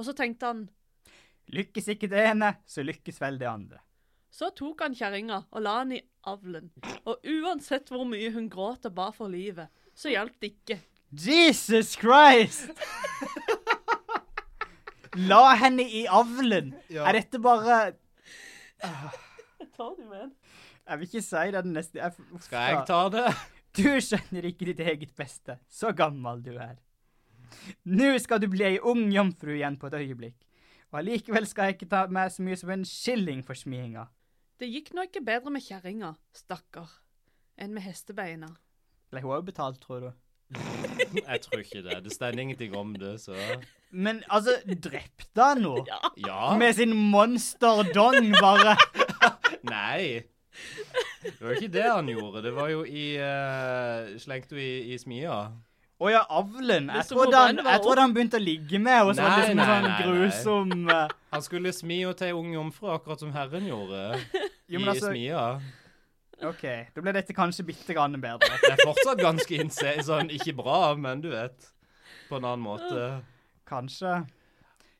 Speaker 5: Og så tenkte han
Speaker 2: Lykkes ikke det ene, så lykkes vel det andre.
Speaker 5: Så tok han kjerringa og la han i avlen. Og uansett hvor mye hun gråt og ba for livet, så hjalp det ikke.
Speaker 2: Jesus Christ! La henne i avlen.
Speaker 1: Ja.
Speaker 2: Er dette bare
Speaker 5: Tar du med?
Speaker 2: Jeg vil ikke si det er den neste jeg, uff,
Speaker 1: Skal jeg ta det?
Speaker 2: Du skjønner ikke ditt eget beste, så gammel du er. Nå skal du bli ei ung jomfru igjen på et øyeblikk, og allikevel skal jeg ikke ta med så mye som en skilling for smiinga.
Speaker 5: Det gikk nå ikke bedre med kjerringa, stakkar, enn med hestebeina.
Speaker 2: Ble hun òg betalt, tror du?
Speaker 1: Jeg tror ikke det. Det står ingenting om det, så
Speaker 2: Men altså, drepte han henne?
Speaker 5: Ja,
Speaker 1: Ja.
Speaker 2: Med sin monsterdong, bare.
Speaker 1: Nei. Det var jo ikke det han gjorde. Det var jo i eh, Slengte jo i, i smia.
Speaker 2: Å ja, avlen. Jeg
Speaker 5: Hvis hun
Speaker 2: trodde, han,
Speaker 5: bare var
Speaker 2: jeg trodde han begynte å ligge med henne, så var det
Speaker 1: Nei,
Speaker 2: liksom en
Speaker 1: nei,
Speaker 2: sånn
Speaker 1: nei,
Speaker 2: grusom eh,
Speaker 1: Han skulle smi henne til ei ung jomfru, akkurat som Herren gjorde
Speaker 2: Jo,
Speaker 1: i
Speaker 2: men altså
Speaker 1: smia.
Speaker 2: OK, da ble dette kanskje bitte grann bedre.
Speaker 1: Det er fortsatt ganske innse... Sånn ikke bra, men du vet. På en annen måte.
Speaker 2: Kanskje.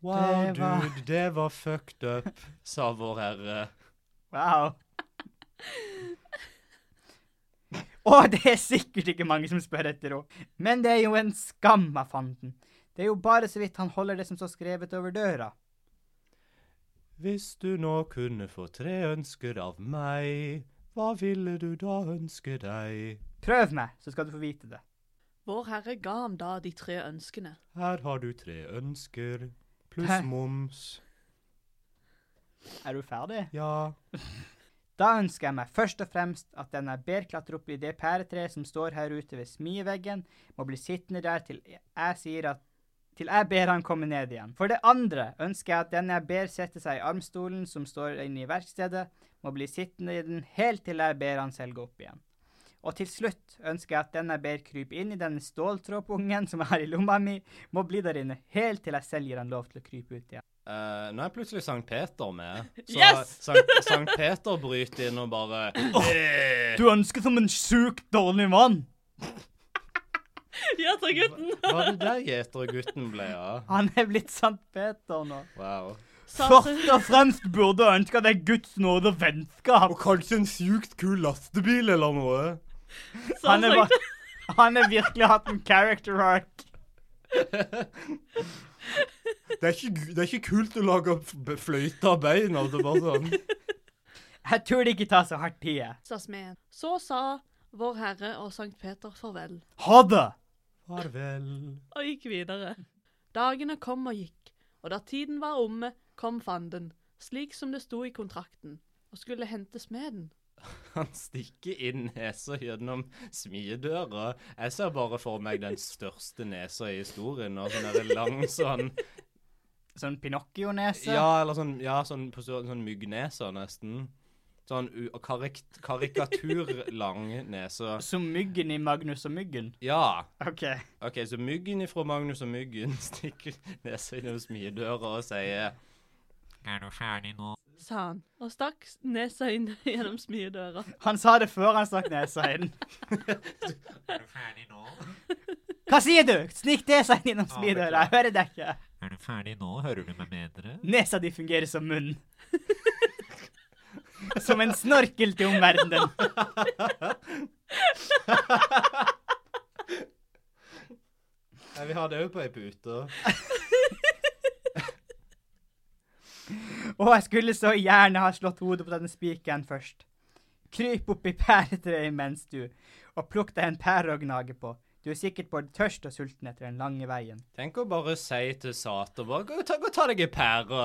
Speaker 1: Wow,
Speaker 2: Det var-
Speaker 1: dude, det var fucked up, sa vår herre.
Speaker 2: Wow. Å, det er sikkert ikke mange som spør etter henne. Men det er jo en skam av fanden. Det er jo bare så vidt han holder det som står skrevet over døra.
Speaker 1: Hvis du nå kunne få tre ønsker av meg, hva ville du da ønske deg?
Speaker 2: Prøv meg, så skal du få vite det.
Speaker 5: Vår Herre ga ham da de tre ønskene.
Speaker 1: Her har du tre ønsker, pluss
Speaker 2: Hæ?
Speaker 1: moms.
Speaker 2: Er du ferdig?
Speaker 1: Ja.
Speaker 2: Da ønsker jeg meg først og fremst at den jeg ber klatre opp i det pæretreet som står her ute ved smieveggen, må bli sittende der til jeg sier at til jeg ber han komme ned igjen. For det andre ønsker jeg at den jeg ber sette seg i armstolen som står inne i verkstedet, må bli sittende i den helt til jeg ber han selv gå opp igjen. Og til slutt ønsker jeg at denne ber krype inn i den ståltrådpungen som jeg har i lomma mi, må bli der inne helt til jeg selv gir han lov til å krype ut igjen.
Speaker 1: Eh, nå er plutselig Sankt Peter med. Så
Speaker 5: Yes!
Speaker 1: Sankt, Sankt Peter bryter inn og bare
Speaker 2: Oh.
Speaker 1: Eh,
Speaker 2: Du ønsker som en sjukt dårlig mann!
Speaker 5: Gjetergutten!
Speaker 1: Var det der gjetergutten ble av?
Speaker 2: Han er blitt Sankt Peter nå.
Speaker 1: Wow.
Speaker 5: Sånn
Speaker 2: Først og fremst burde jeg ønske deg Guds nåde og vennskap.
Speaker 1: kanskje en sjukt kul lastebil eller noe.
Speaker 2: Han er, bare- han er virkelig hatt en character arc.
Speaker 1: Det er ikke, kult å lage fløyte av bein, altså bare sånn.
Speaker 2: Jeg tror det ikke tar så hardt tid. jeg.
Speaker 5: Så sa Vår Herre og Sankt Peter farvel,
Speaker 2: Ha det!
Speaker 1: Farvel.
Speaker 5: og gikk videre. Dagene kom og gikk, og da tiden var omme, kom fanden, slik som det sto i kontrakten, og skulle hente smeden.
Speaker 1: Han stikker inn nesa gjennom smiedøra. Jeg ser bare for meg den største nesa i historien, og sånn der lang sånn
Speaker 2: Sånn Pinocchio-nese.
Speaker 1: Ja, eller sånn, ja, sånn, på størrelse- sånn myggnese nesten. Sånn u- karik- karikaturlang nese.
Speaker 2: Som myggen i Magnus og myggen.
Speaker 1: Ja.
Speaker 2: OK.
Speaker 1: OK, så myggen ifra Magnus og myggen stikker nesa innom smidøra og sier
Speaker 5: sa han, og stakk s- nesa inn gjennom smiedøra.
Speaker 2: Han sa det før han stakk nesa inn. Hva sier du? Snikk nesa inn gjennom smidøra. Jeg hører deg ikke.
Speaker 6: Er du ferdig nå? Hører du meg bedre?
Speaker 2: Nesa di fungerer som munn. Som en snorkel til omverdenen.
Speaker 1: Jeg vil ha det òg på ei pute.
Speaker 2: Og jeg skulle så gjerne ha slått hodet på denne spikeren først. Kryp opp i pæretreet imens, du, og plukk deg en pære å gnage på. Du er sikkert både tørst og sulten etter den lange veien.
Speaker 1: Tenk å bare si til Satan bare, gå, ta, gå ta deg ei pære.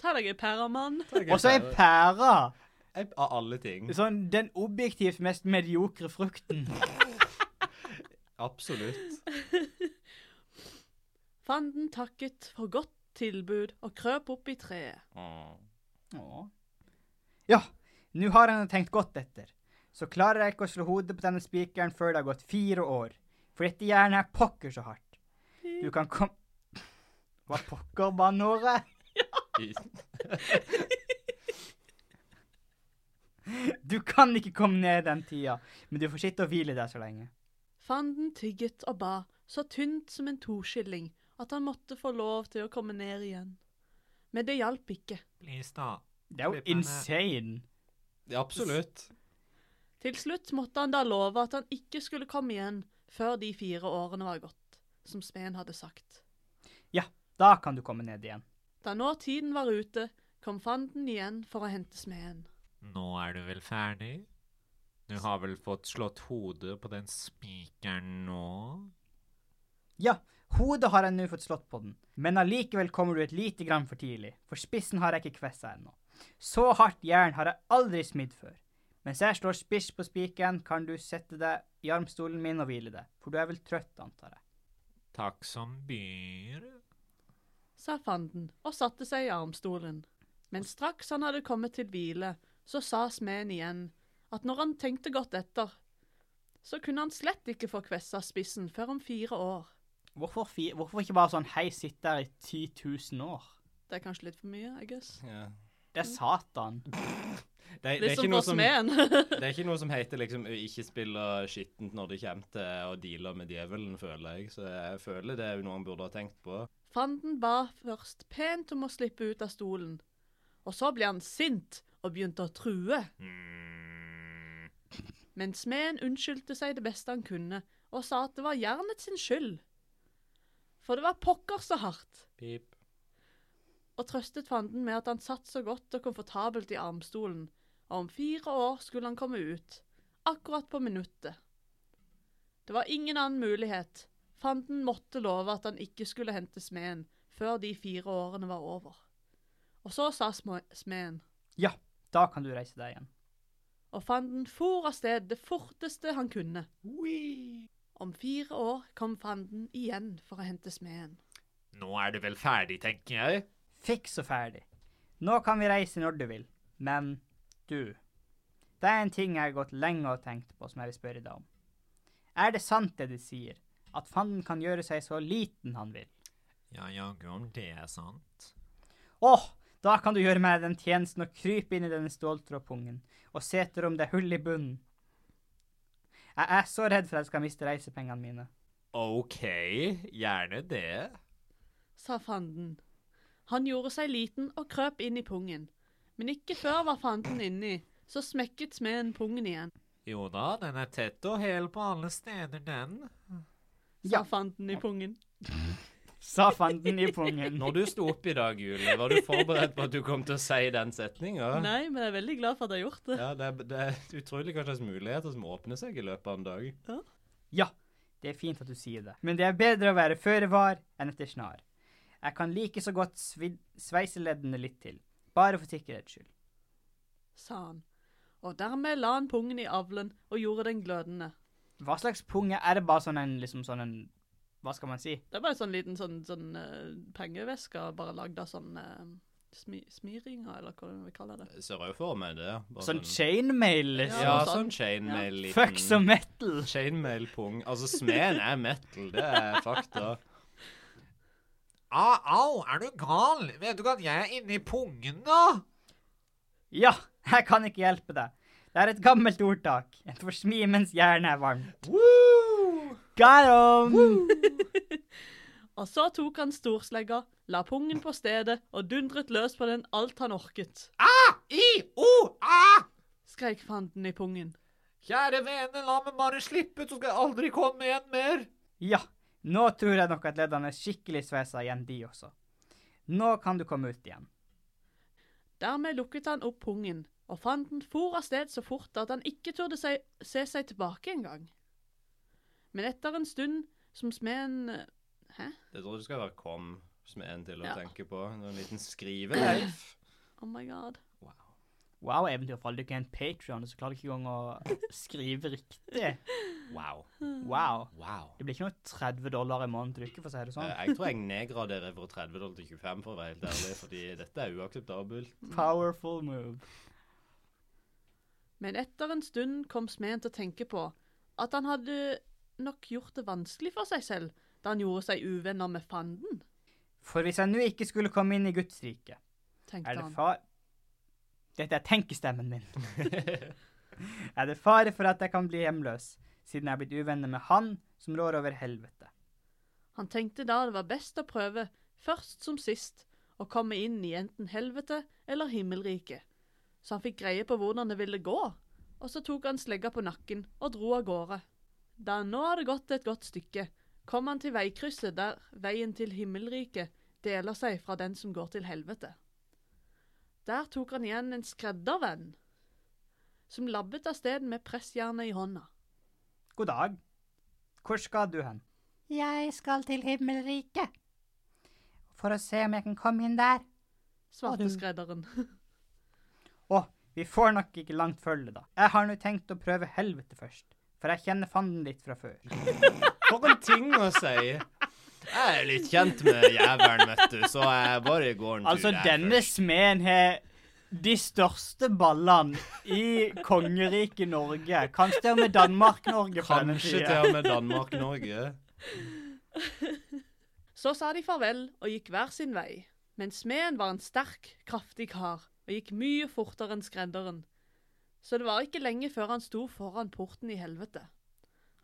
Speaker 5: Ta deg en pæremann.
Speaker 1: Ta deg ei
Speaker 2: Og så er
Speaker 1: pære.
Speaker 2: pæra
Speaker 1: Jeg- Av alle ting.
Speaker 2: sånn den objektivt mest mediokre frukten.
Speaker 1: Absolutt.
Speaker 5: Fanden takket for godt tilbud og krøp opp i treet.
Speaker 1: Åh.
Speaker 2: Åh. Ja, nå har han tenkt godt etter. Så klarer jeg ikke å slå hodet på denne spikeren før det har gått fire år. For dette jernet er pokker så hardt. Du kan kom... Hva pokker, banneordet?
Speaker 1: I-
Speaker 2: Du kan ikke komme ned den tida, men du får sitte og hvile der så lenge.
Speaker 5: Fanden tygget og ba, så tynt som en toskilling, at han måtte få lov til å komme ned igjen. Men det hjalp ikke.
Speaker 6: Please, da.
Speaker 2: Det er jo
Speaker 6: Flipperne.
Speaker 2: insane.
Speaker 1: Absolutt.
Speaker 5: Til slutt måtte han da love at han ikke skulle komme igjen før de fire årene var gått, som smeden hadde sagt.
Speaker 2: Da kan du komme ned igjen.
Speaker 5: Da nå tiden var ute, kom fanden igjen for å hente smeden.
Speaker 6: Nå er du vel ferdig? Du har vel fått slått hodet på den spikeren nå?
Speaker 2: Ja, hodet har jeg nå fått slått på den, men allikevel kommer du et lite grann for tidlig, for spissen har jeg ikke kvessa ennå. Så hardt jern har jeg aldri smidd før. Mens jeg slår spiss på spikeren, kan du sette deg i armstolen min og hvile deg, for du er vel trøtt, antar jeg.
Speaker 6: Takk som byr.
Speaker 5: sa fanden og satte seg i armstolen. Men straks han hadde kommet til hvile, så sa smeden igjen at når han tenkte godt etter, så kunne han slett ikke få kvessa spissen før om fire år.
Speaker 2: Hvorfor, fi hvorfor ikke bare sånn hei, sitte der i 10 000 år?
Speaker 5: Det er kanskje litt for mye, I guess.
Speaker 1: Ja.
Speaker 2: Det er satan.
Speaker 1: Det, det er
Speaker 5: Litt
Speaker 1: ikke
Speaker 5: som
Speaker 1: noe
Speaker 5: Liksom for
Speaker 1: som
Speaker 5: smeden.
Speaker 1: Det er ikke noe som heter liksom ikke spille skittent når det kommer til å deale med djevelen, føler jeg. Så jeg føler det er jo noe han burde ha tenkt på.
Speaker 5: Fanden ba først pent om å slippe ut av stolen, og så ble han sint og begynte å true. Men smeden unnskyldte seg det beste han kunne, og sa at det var jernet sin skyld. For det var pokker så hardt,
Speaker 1: Pip.
Speaker 5: og trøstet fanden med at han satt så godt og komfortabelt i armstolen, og om fire år skulle han komme ut, akkurat på minuttet. Det var ingen annen mulighet. Fanden måtte love at han ikke skulle hente smeden før de fire årene var over. Og så sa små- smeden,
Speaker 2: Ja, da kan du reise deg igjen.
Speaker 5: og fanden for av sted det forteste han kunne. Om fire år kom fanden igjen for å hente smeden.
Speaker 6: Nå er du vel ferdig, tenker jeg.
Speaker 2: Fiks og ferdig. Nå kan vi reise når du vil, men du Det er en ting jeg har gått lenge og tenkt på, som jeg vil spørre deg om. Er det sant det de sier, at fanden kan gjøre seg så liten han vil?
Speaker 6: Ja, jaggu om det er sant.
Speaker 2: Åh, da kan du gjøre meg den tjenesten og krype inn i denne ståltrådpungen og se etter om det er hull i bunnen. Jeg er så redd for at jeg skal miste reisepengene mine.
Speaker 6: OK, gjerne det.
Speaker 5: sa fanden. Han gjorde seg liten og krøp inn i pungen. Men ikke før var fanden inni, så smekket smeden pungen igjen,
Speaker 6: Jo da, den er tett og hel på alle steder, den.
Speaker 5: sa
Speaker 2: Ja.
Speaker 5: fanden i pungen.
Speaker 2: Sa fanden i pungen.
Speaker 1: Når du sto opp i dag, Jule, var du forberedt på at du kom til å si den setninga?
Speaker 5: Nei, men jeg er veldig glad for at jeg har gjort det.
Speaker 1: Ja, det er, det er utrolig hva slags muligheter som åpner seg i løpet av en dag.
Speaker 2: Ja, det er fint at du sier det, men det er bedre å være føre var enn etter snar. Jeg kan like så godt svi- sveise leddene litt til, bare for sikkerhets skyld.
Speaker 5: sa han. Og dermed la han pungen i avlen og gjorde den glødende.
Speaker 2: Hva slags pung er- er det bare sånn en, liksom sånn en, hva skal man si?
Speaker 5: Det er bare en sånn liten sånn, sånn eh, pengeveske, bare lagd av sånn eh, smi smiringer, eller hva du vil kalle det.
Speaker 1: Jeg Ser òg for meg det. Bare
Speaker 2: Sånn chainmail,
Speaker 1: Ja,
Speaker 2: liksom.
Speaker 5: Ja,
Speaker 1: sånn
Speaker 5: sånn.
Speaker 1: chainmail-liten
Speaker 2: Fuck som metal!
Speaker 1: Chainmail-pung. Altså, smeden er metal, det er fakta.
Speaker 6: Au, au, er du gal? Vet du ikke at jeg er inni pungen, da?
Speaker 2: Ja, jeg kan ikke hjelpe deg. Det er et gammelt ordtak. En får smi mens hjernen er varm. Got 'em!
Speaker 5: Og så tok han storslegga, la pungen på stedet og dundret løs på den alt han orket,
Speaker 6: I-O-A!
Speaker 5: skrek fanden i pungen.
Speaker 6: Kjære vene, la meg bare slippe, så skal jeg aldri komme igjen mer.
Speaker 2: Ja, nå tror jeg nok at leddene er skikkelig sveisa igjen, de også. Nå kan du komme ut igjen.
Speaker 5: Dermed lukket han opp pungen, og fanden for av sted så fort at han ikke turde se, se seg tilbake engang. Men etter en stund som smeden eh, Hæ?
Speaker 1: Det tror jeg du skal være kom smeden til å
Speaker 5: Ja.
Speaker 1: tenke på. En liten skriveleif.
Speaker 5: Oh my god.
Speaker 2: Wow, eventyr, for du ikke er en Patreon, så klarer du ikke engang å skrive riktig.
Speaker 1: Wow.
Speaker 2: Wow.
Speaker 1: wow.
Speaker 2: Det blir ikke noe 30 dollar i måneden du ikke får si det sånn.
Speaker 1: Eh, Jeg tror jeg nedgraderer fra 30 dollar til 25, for å være helt ærlig, fordi dette er uakseptabelt.
Speaker 2: Powerful move.
Speaker 5: Men etter en stund kom smeden til å tenke på at han hadde nok gjort det vanskelig for seg selv da han gjorde seg uvenner med fanden,
Speaker 2: For hvis jeg nå ikke skulle komme inn i Guds rike,
Speaker 5: tenkte
Speaker 2: Er det
Speaker 5: han.
Speaker 2: far... Dette er tenkestemmen min. er det fare for at jeg kan bli hjemløs, siden jeg er blitt uvenner med han som rår over helvete?
Speaker 5: Han tenkte da det var best å prøve, først som sist, å komme inn i enten helvete eller himmelriket. Så han fikk greie på hvordan det ville gå, og så tok han slegga på nakken og dro av gårde. Da han nå hadde gått et godt stykke, kom han til veikrysset der veien til himmelriket deler seg fra den som går til helvete. Der tok han igjen en skreddervenn, som labbet av sted med pressjernet i hånda.
Speaker 2: God dag. Hvor skal du hen?
Speaker 7: Jeg skal til himmelriket.
Speaker 2: For å se om jeg kan komme inn der.
Speaker 5: Svarte skredderen.
Speaker 2: Å, vi får nok ikke langt følge, da. Jeg har nå tenkt å prøve helvete først, for jeg kjenner fanden litt fra før.
Speaker 1: For en ting å si! Jeg er litt kjent med jævelen, vet du, så jeg bare går en tur
Speaker 2: Altså,
Speaker 1: der
Speaker 2: denne smeden har de største ballene i kongeriket Norge. Kanskje til og med Danmark-Norge.
Speaker 1: først.
Speaker 2: på denne
Speaker 1: Kanskje
Speaker 2: tida.
Speaker 1: til og med Danmark-Norge.
Speaker 5: Så sa de farvel og gikk hver sin vei. Men smeden var en sterk, kraftig kar og gikk mye fortere enn skredderen. Så det var ikke lenge før han sto foran porten i helvete.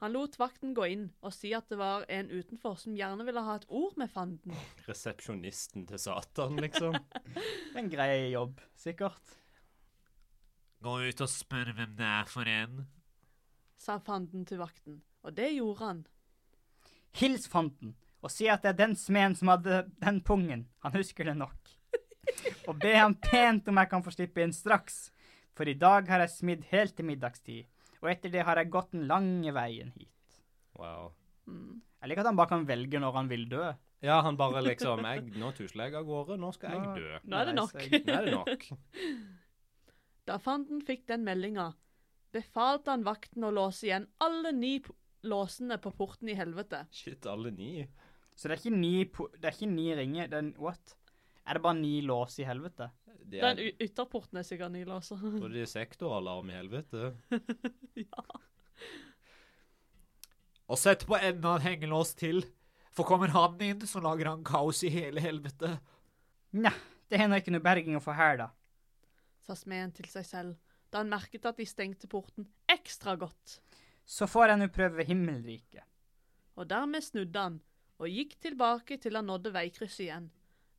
Speaker 5: Han lot vakten gå inn og si at det var en utenfor som gjerne ville ha et ord med fanden.
Speaker 1: Resepsjonisten til Satan, liksom.
Speaker 2: En grei jobb, sikkert.
Speaker 6: Gå ut og spør hvem det er for en.
Speaker 5: sa fanden til vakten, og det gjorde han.
Speaker 2: Hils fanden, og si at det er den smeden som hadde den pungen. Han husker det nok. Og be ham pent om jeg kan få slippe inn straks, for i dag har jeg smidd helt til middagstid, og etter det har jeg gått den lange veien hit.
Speaker 1: Wow.
Speaker 2: Jeg liker at han bare kan velge når han vil dø.
Speaker 1: Ja, han bare liksom jeg, Nå tusler jeg av gårde, nå skal jeg dø.
Speaker 5: Nå er det nok.
Speaker 2: reiser jeg.
Speaker 1: Nå er det nok.
Speaker 5: Da fanden fikk den meldinga, befalte han vakten å låse igjen alle ni p- låsene på porten i helvete.
Speaker 1: Shit, alle ni.
Speaker 2: Så det er ikke ni, po det er ikke ni ringer, det er en, what? Er det bare ni lås i helvete?
Speaker 1: det er,
Speaker 5: Den y- ytterporten er sikkert nylåst.
Speaker 1: tror du det er sektoralarm i helvete?
Speaker 5: ja.
Speaker 6: Og sett på enden av en hengelås til. For kommer han inn, så lager han kaos i hele helvete.
Speaker 2: Nja, det hender ikke noe berging å få her, da.
Speaker 5: Sa smeden til seg selv da han merket at de stengte porten ekstra godt.
Speaker 2: Så får jeg nå prøve himmelriket.
Speaker 5: Og dermed snudde han og gikk tilbake til han nådde veikrysset igjen.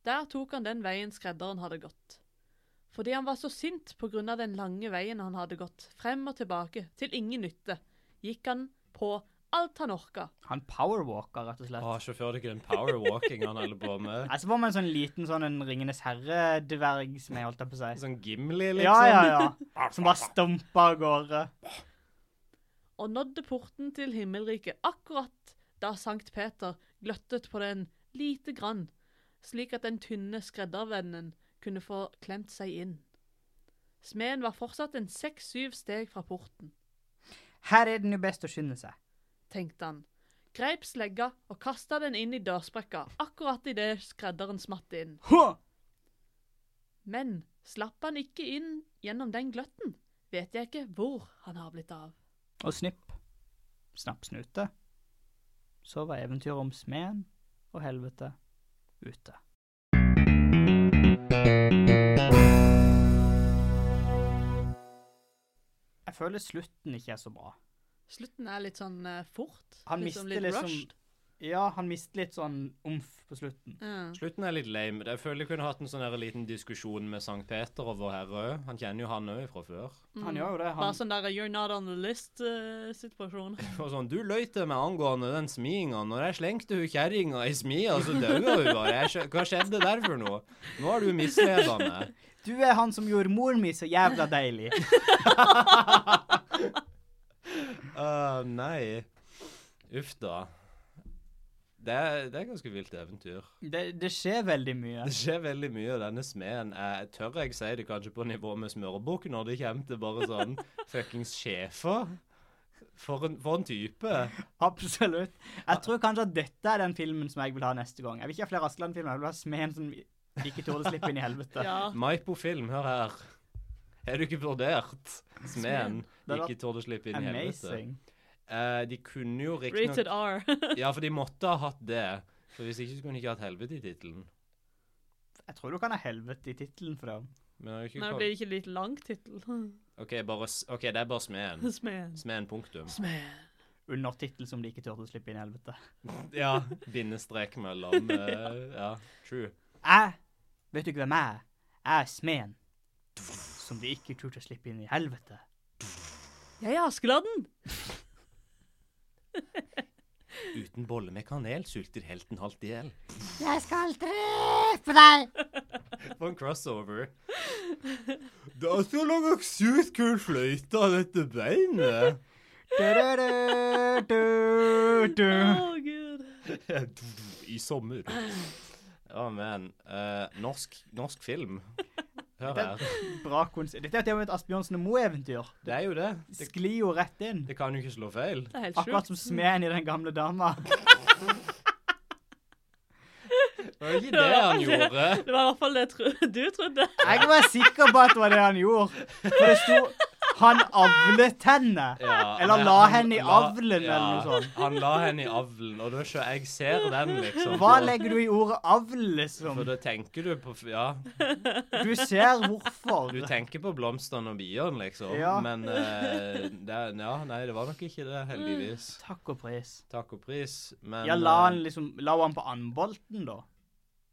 Speaker 5: Der tok han den veien skredderen hadde gått. Fordi han var så sint på grunn av den lange veien han hadde gått, frem og tilbake, til ingen nytte, gikk han på alt han orka.
Speaker 2: Han powerwalker, rett og slett.
Speaker 1: Å,
Speaker 6: Ah,
Speaker 1: sjåfør, det er ikke den powerwalking han holder på med.
Speaker 2: Jeg så for meg en sånn liten sånn en Ringenes herre-dverg som jeg holdt jeg på å si.
Speaker 1: Sånn Gimli, liksom.
Speaker 2: Ja, ja, ja. Som bare stumper av gårde.
Speaker 5: Og nådde porten til himmelriket akkurat da Sankt Peter gløttet på den lite grann, slik at den tynne skreddervennen kunne få klemt seg inn. Smeden var fortsatt en seks-syv steg fra porten.
Speaker 2: Her er det nå best å skynde seg.
Speaker 5: tenkte han. Greip slegga og kasta den inn i dørsprekka akkurat idet skredderen smatt inn.
Speaker 2: Hå!
Speaker 5: Men slapp han ikke inn gjennom den gløtten, vet jeg ikke hvor han har blitt av.
Speaker 2: Og snipp. Snapp snute. Så var eventyret om smeden og helvete ute. Jeg føler slutten ikke er så bra.
Speaker 5: Slutten er litt sånn eh, fort.
Speaker 2: Han
Speaker 5: liksom
Speaker 2: mister
Speaker 5: litt
Speaker 2: liksom-
Speaker 5: rushed.
Speaker 2: Ja, han mister litt sånn omf på slutten.
Speaker 5: Ja.
Speaker 1: Slutten er litt lame. Jeg føler jeg kunne hatt en sånn her liten diskusjon med Sankt Peter og Vårherre. Han kjenner jo han òg fra før.
Speaker 2: Han gjør jo det.
Speaker 5: Bare
Speaker 2: Han,
Speaker 5: sånn der 'you're not on the list'-situasjon.
Speaker 1: Og sånn, Du løy til meg angående den smiinga. Når jeg slengte hun kjerringa i smia, så daua hun bare. Jeg skjø- Hva skjedde der for noe? Nå har du misleda meg.
Speaker 2: du er han som gjorde moren min så jævla deilig.
Speaker 1: Øh, nei. Uff da. Det er, det er ganske vilt eventyr.
Speaker 2: Det, det skjer veldig mye.
Speaker 1: Det skjer veldig mye, og denne smeden er Tør jeg si det kanskje på nivå med smørbukk når det kommer til bare sånn fuckings sjefer? For en, for en type.
Speaker 2: Absolutt. Jeg tror kanskje at dette er den filmen som jeg vil ha neste gang. Jeg vil ikke ha flere Askeland-filmer. Jeg vil ha smeden som ikke torde slippe inn i helvete.
Speaker 5: Ja.
Speaker 1: Maipo Film, hør her. Er du ikke vurdert? Smeden. De
Speaker 2: Det hadde
Speaker 1: ikke torde slippe inn i helvete.
Speaker 2: Amazing.
Speaker 1: Eh, de kunne jo
Speaker 5: Rated
Speaker 1: riktignok
Speaker 5: R.
Speaker 1: Ja, for de måtte ha hatt det. For hvis ikke så kunne de ikke hatt helvete i tittelen.
Speaker 2: Jeg tror du kan ha helvete i tittelen for det.
Speaker 1: Men det er jo ikke
Speaker 5: Nei, det
Speaker 1: kom-
Speaker 5: blir ikke litt lang tittel.
Speaker 1: OK, bare, s- ok, det er bare Smeden.
Speaker 5: Smeden.
Speaker 1: Smeden, punktum.
Speaker 5: Smeden.
Speaker 2: Undertittel som de ikke torde å slippe inn i helvete.
Speaker 1: Ja. Bindestrek mellom eh, Ja, true.
Speaker 2: Jeg Vet du ikke hvem jeg er? Jeg er smeden. Som de ikke turte å slippe inn i helvete.
Speaker 5: Jeg er Askeladden!
Speaker 1: Uten bolle med kanel sulter helten halvt i hjel.
Speaker 7: Jeg skal drepe deg!
Speaker 1: På en crossover. Det er så lang sykt kul fløyte av dette beinet.
Speaker 2: Du-du-du-du-du.
Speaker 5: Å, gud.
Speaker 1: I sommer. Ja, men eh, norsk, norsk film. Hør her.
Speaker 2: Bra konsert. Dette er jo til og med et Asbjørnsen og Moe-eventyr.
Speaker 1: Det er jo det. Det,
Speaker 2: Sklir jo rett inn.
Speaker 1: det kan jo ikke slå feil.
Speaker 5: Det er helt
Speaker 2: Akkurat
Speaker 5: sjukt.
Speaker 2: som smeden i Den gamle dama.
Speaker 1: Det var ikke det han gjorde.
Speaker 5: Det var i hvert fall det tro du trodde.
Speaker 2: Jeg var sikker på at det var det han gjorde. For det sto 'han avlet henne'.
Speaker 1: Ja,
Speaker 2: Eller
Speaker 1: nei,
Speaker 2: la
Speaker 1: han
Speaker 2: henne i
Speaker 1: la-
Speaker 2: avlen, eller noe sånt.
Speaker 1: Han la henne i avlen, og da sjø, jeg ser den, liksom.
Speaker 2: Hva legger du i ordet 'avl', liksom?
Speaker 1: For da tenker du på Ja,
Speaker 2: Du ser hvorfor.
Speaker 1: du tenker på blomstene og biene, liksom.
Speaker 2: Ja.
Speaker 1: Men eh, det, ja, nei, det var nok ikke det, heldigvis.
Speaker 2: Takk og pris.
Speaker 1: Takk og pris, men
Speaker 2: Mm. Ja, la
Speaker 1: eh,
Speaker 2: han liksom La han på andbolten, da?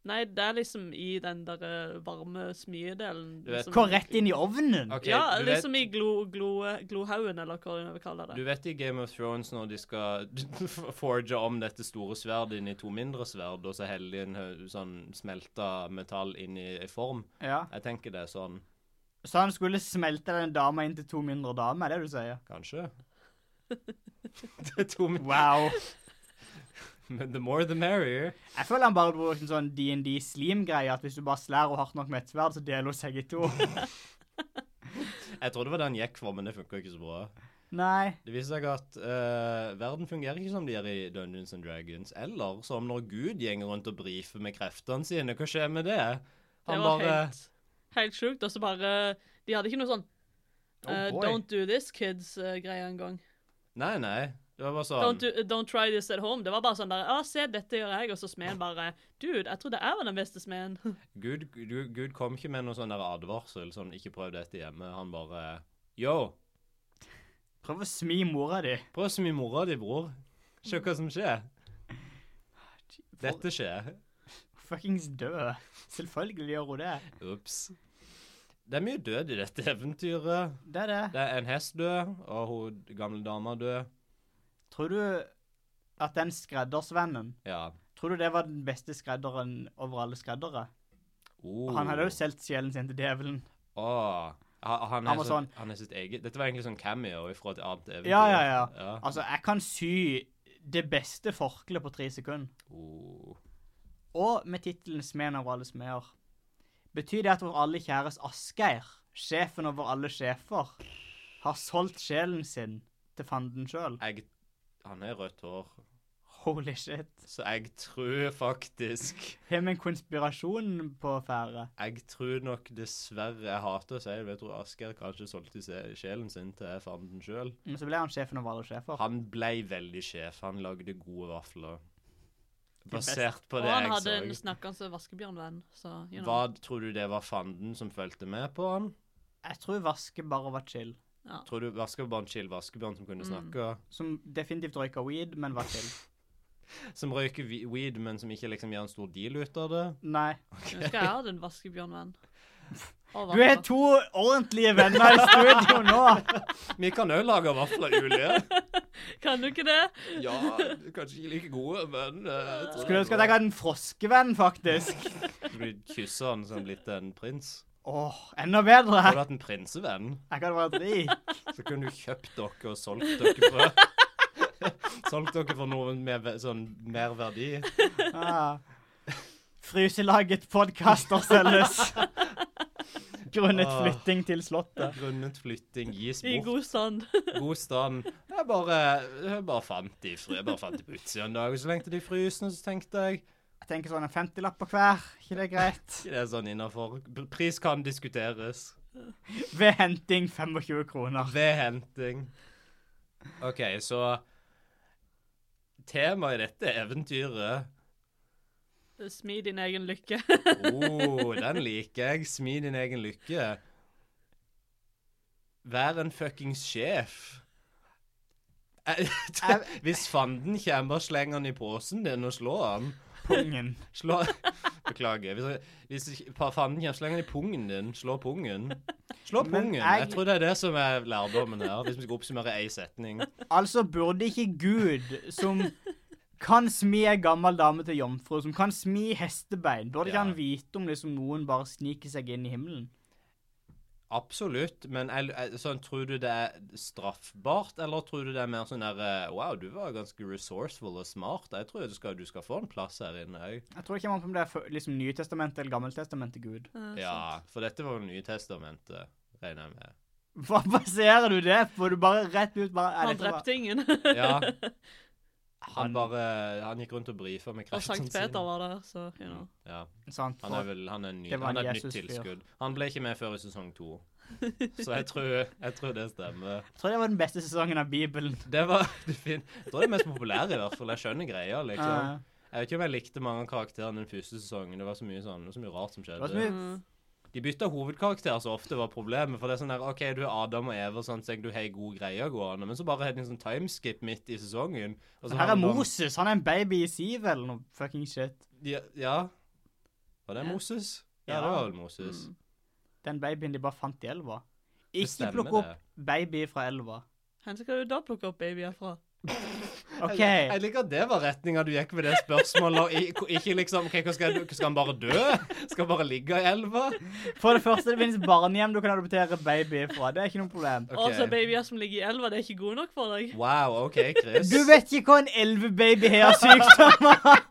Speaker 5: Nei, det er liksom i den der eh, varme smyedelen.
Speaker 1: Du vet-
Speaker 5: som-
Speaker 2: Gå rett inn i ovnen?
Speaker 1: eh, OK,
Speaker 5: ja,
Speaker 1: du,
Speaker 5: liksom
Speaker 1: vet,
Speaker 5: i glo, glo, glohaugen, eller hva vi kaller det.
Speaker 1: du vet i Game of Thrones når de skal forge om dette store sverdet inn i to mindre sverd, og så heller de en hø- sånn smelta metall inn i en form?
Speaker 2: Ja.
Speaker 1: Jeg tenker det er sånn,
Speaker 2: Så han skulle smelte den dama inn til to mindre damer, er det du sier?
Speaker 1: kanskje? Det er to min-
Speaker 2: Wow.
Speaker 1: Men the more the merrier.
Speaker 2: Jeg føler han bare brukte en sånn DND-slim-greie, at hvis du bare slår henne hardt nok med et sverd, så deler hun seg i to.
Speaker 1: Jeg trodde det var det han gikk for, men det funka ikke så bra.
Speaker 2: Nei.
Speaker 1: Det viser seg at eh, verden fungerer ikke som de gjør i Dungeons and Dragons, eller som når Gud gjenger rundt og brifer med kreftene sine. Hva skjer med det?
Speaker 5: det
Speaker 1: Han
Speaker 5: var
Speaker 1: bare
Speaker 5: helt, Helt sjukt. Og så bare De hadde ikke noe sånn
Speaker 1: Oh,
Speaker 5: eh,
Speaker 2: boy.
Speaker 5: Don't do this, kids-greie en gang.
Speaker 1: Nei, nei. Det var bare
Speaker 5: Don't,
Speaker 1: sånn
Speaker 5: do, don't try this at home. Det var bare sånn der Ja, se, dette gjør jeg. Og så smeden bare Dude, jeg trodde jeg var den beste smeden.
Speaker 1: Gud, Gud, Gud kom ikke med noen sånn der advarsel, sånn 'ikke prøv dette hjemme'. Han bare Yo,
Speaker 2: Prøv å smi mora di.
Speaker 1: prøv som i mora di, bror. Se hva som skjer.
Speaker 5: Ah,
Speaker 1: Dette skjer.
Speaker 2: Fuckings død. Selvfølgelig gjør hun det.
Speaker 1: Ops. Det er mye død i dette eventyret.
Speaker 2: Det er det.
Speaker 1: Det er en hest død, og hun gamle dama død.
Speaker 2: Tror du at den skreddersvennen
Speaker 1: Ja.
Speaker 2: Tror du det var den beste skredderen over alle skreddere?
Speaker 1: Oh.
Speaker 2: Han hadde jo solgt sjelen sin til djevelen.
Speaker 1: Åh. Han, han,
Speaker 2: Han
Speaker 1: er
Speaker 2: var
Speaker 1: sånn,
Speaker 2: sånn-
Speaker 1: han er sitt eget Dette var egentlig sånn cameo fra et annet eventyr.
Speaker 2: Ja, ja, ja.
Speaker 1: ja.
Speaker 2: Altså, jeg kan sy det beste forkleet på tre sekunder.
Speaker 1: Oh.
Speaker 2: Og med tittelen 'Smeden over alle smeder'. Betyr det at vår alle kjæres Asgeir, sjefen over alle sjefer, har solgt sjelen sin til fanden sjøl?
Speaker 1: Jeg, han har rødt hår,
Speaker 2: Holy shit.
Speaker 1: så jeg tror faktisk
Speaker 2: Har vi en konspirasjon på ferde?
Speaker 1: Jeg tror nok dessverre Jeg hater å si det, men jeg tror Asgeir kanskje solgte se- sjelen sin til fanden sjøl.
Speaker 2: Men så ble han sjefen over alle sjefer.
Speaker 1: Han blei veldig sjef. Han lagde gode vafler.
Speaker 2: beste.
Speaker 1: Basert på
Speaker 5: Og
Speaker 1: det
Speaker 5: han
Speaker 1: jeg
Speaker 5: hadde en
Speaker 1: så.
Speaker 5: snakkende vaskebjørnvenn, så you know.
Speaker 1: Hva tror du det var fanden som fulgte med på han?
Speaker 2: Jeg tror Vaske bare var chill.
Speaker 5: Ja.
Speaker 1: Tror du Vaskebjørn Chill Vaskebjørn som
Speaker 2: Mm.
Speaker 1: kunne snakke?
Speaker 2: Som definitivt røyka weed, men var chill.
Speaker 1: Som røyker vi- weed, men som ikke liksom gjør en stor deal ut av det?
Speaker 2: Nei.
Speaker 5: Nå skal jeg ha den vaskebjørnvenn. Og
Speaker 2: Du er
Speaker 5: vafler.
Speaker 2: to ordentlige venner i studio nå!
Speaker 1: Vi kan òg lage vafler, Julie.
Speaker 5: Kan du ikke det?
Speaker 1: Ja, kanskje ikke like gode, men eh,
Speaker 2: Skulle ønske at jeg hadde en froskevenn, faktisk.
Speaker 1: Du kysser han som blitt en prins.
Speaker 2: Åh, enda bedre!
Speaker 1: Har du hatt en prinsevenn?
Speaker 2: Jeg hadde vært rik.
Speaker 1: Så kunne du kjøpt dere og solgt dere for Solgt dere for noe med ve- sånn mer verdi.
Speaker 2: Ah. Fryselaget podkaster selges. Grunnet
Speaker 1: Ah.
Speaker 2: flytting til Slottet.
Speaker 1: Grunnet flytting gis
Speaker 5: I
Speaker 1: bort.
Speaker 5: god stand.
Speaker 1: God stand. Jeg bare, jeg bare fant de fri. Jeg bare fant de på utsida en dag, og så lengte de i frysen, og så tenkte jeg
Speaker 2: Jeg tenker sånn en 50-lapp på hver. ikke det greit?
Speaker 1: Ikke det er sånn innafor. Pris kan diskuteres.
Speaker 2: Ved henting 25 kroner.
Speaker 1: Ved henting. OK, så Temaet i dette eventyret
Speaker 5: Smi din egen lykke.
Speaker 1: oh, den liker jeg. Smi din egen lykke. Vær en fuckings sjef. Eh, Hvis fanden kommer, sleng han i posen din og slå han.
Speaker 2: Pungen.
Speaker 1: Slå Beklager. Hvis, hvis ikke- pa- fanden kommer, sleng han i pungen din. Slå pungen. Slå
Speaker 2: Men
Speaker 1: pungen.
Speaker 2: jeg-
Speaker 1: Jeg tror det er det som er lærdommen her, hvis vi skal oppsummere én setning.
Speaker 2: Altså burde ikke Gud, som kan smi ei gammel dame til jomfru, som kan smi hestebein Burde ikke
Speaker 1: Ja.
Speaker 2: han vite om liksom noen bare sniker seg inn i himmelen?
Speaker 1: Absolutt, men jeg, jeg, sånn, tror du det er straffbart, eller tror du det er mer sånn der eh, Wow, du var ganske resourceful og smart. Jeg tror du skal, du skal få en plass her inne òg.
Speaker 2: Jeg tror ikke man om det er fø- liksom Nytestamentet eller Gammeltestamentet Gud.
Speaker 5: Eh, sant.
Speaker 1: Ja, for dette var jo Nytestamentet, regner jeg med.
Speaker 2: Hva baserer du det på? Du bare rett ut bare er
Speaker 5: Han
Speaker 2: dette bare-
Speaker 5: drepte ingen.
Speaker 1: Ja. Han bare Han gikk rundt og brifa med
Speaker 5: Og Sankt
Speaker 1: kreftene
Speaker 5: Peter var der, så you know.
Speaker 1: Ja,
Speaker 2: Sant,
Speaker 1: han er
Speaker 2: for-
Speaker 1: vel han er en ny,
Speaker 2: Det var
Speaker 1: han
Speaker 2: en
Speaker 1: er et nytt
Speaker 2: Jesus-fyr.
Speaker 1: tilskudd. Han ble ikke med før i sesong to. Så jeg tror, jeg tror det stemmer.
Speaker 2: Jeg tror det var den beste sesongen av Bibelen.
Speaker 1: Det var det fin. Jeg tror det er mest populære, i hvert fall. Jeg skjønner greia, liksom. Jeg
Speaker 2: Eh,
Speaker 1: vet ikke om jeg likte mange av karakterene den første sesongen. Det var så mye sånn, det var så mye rart som
Speaker 2: det
Speaker 1: skjedde.
Speaker 2: var så mye
Speaker 5: Mm.
Speaker 1: De bytta hovedkarakter så ofte var problemet. For det er sånn der, OK, du er Adam og Eva, sånn, så du har gode greier gående. Men så bare har de en sånn timeskip midt i sesongen. og så
Speaker 2: Her er
Speaker 1: har de bare-
Speaker 2: Moses. Han er en baby i sivet eller noe fucking shit.
Speaker 1: Ja. ja. Var det Moses? Ja,
Speaker 2: Ja.
Speaker 1: det var vel Moses.
Speaker 5: Mm.
Speaker 2: Den babyen de bare fant i elva.
Speaker 1: Det
Speaker 2: Ikke
Speaker 1: stemmer,
Speaker 2: plukke opp baby fra elva.
Speaker 5: Hvor skal du da plukke opp babyer fra?
Speaker 2: OK.
Speaker 1: Jeg, jeg liker at det var retninga du gikk med det spørsmålet. Og ikke, ikke liksom OK, hva skal, jeg- skal han bare dø? Skal han bare ligge i elva?
Speaker 2: For det første, det finnes barnehjem du kan adoptere baby fra. Det er ikke noe problem.
Speaker 1: Ok.
Speaker 5: Altså, babyer som ligger i elva, det er ikke gode nok for deg.
Speaker 1: Wow, OK, Chris.
Speaker 2: Du vet ikke hva en elvebaby har av sykdommer!
Speaker 1: Eh.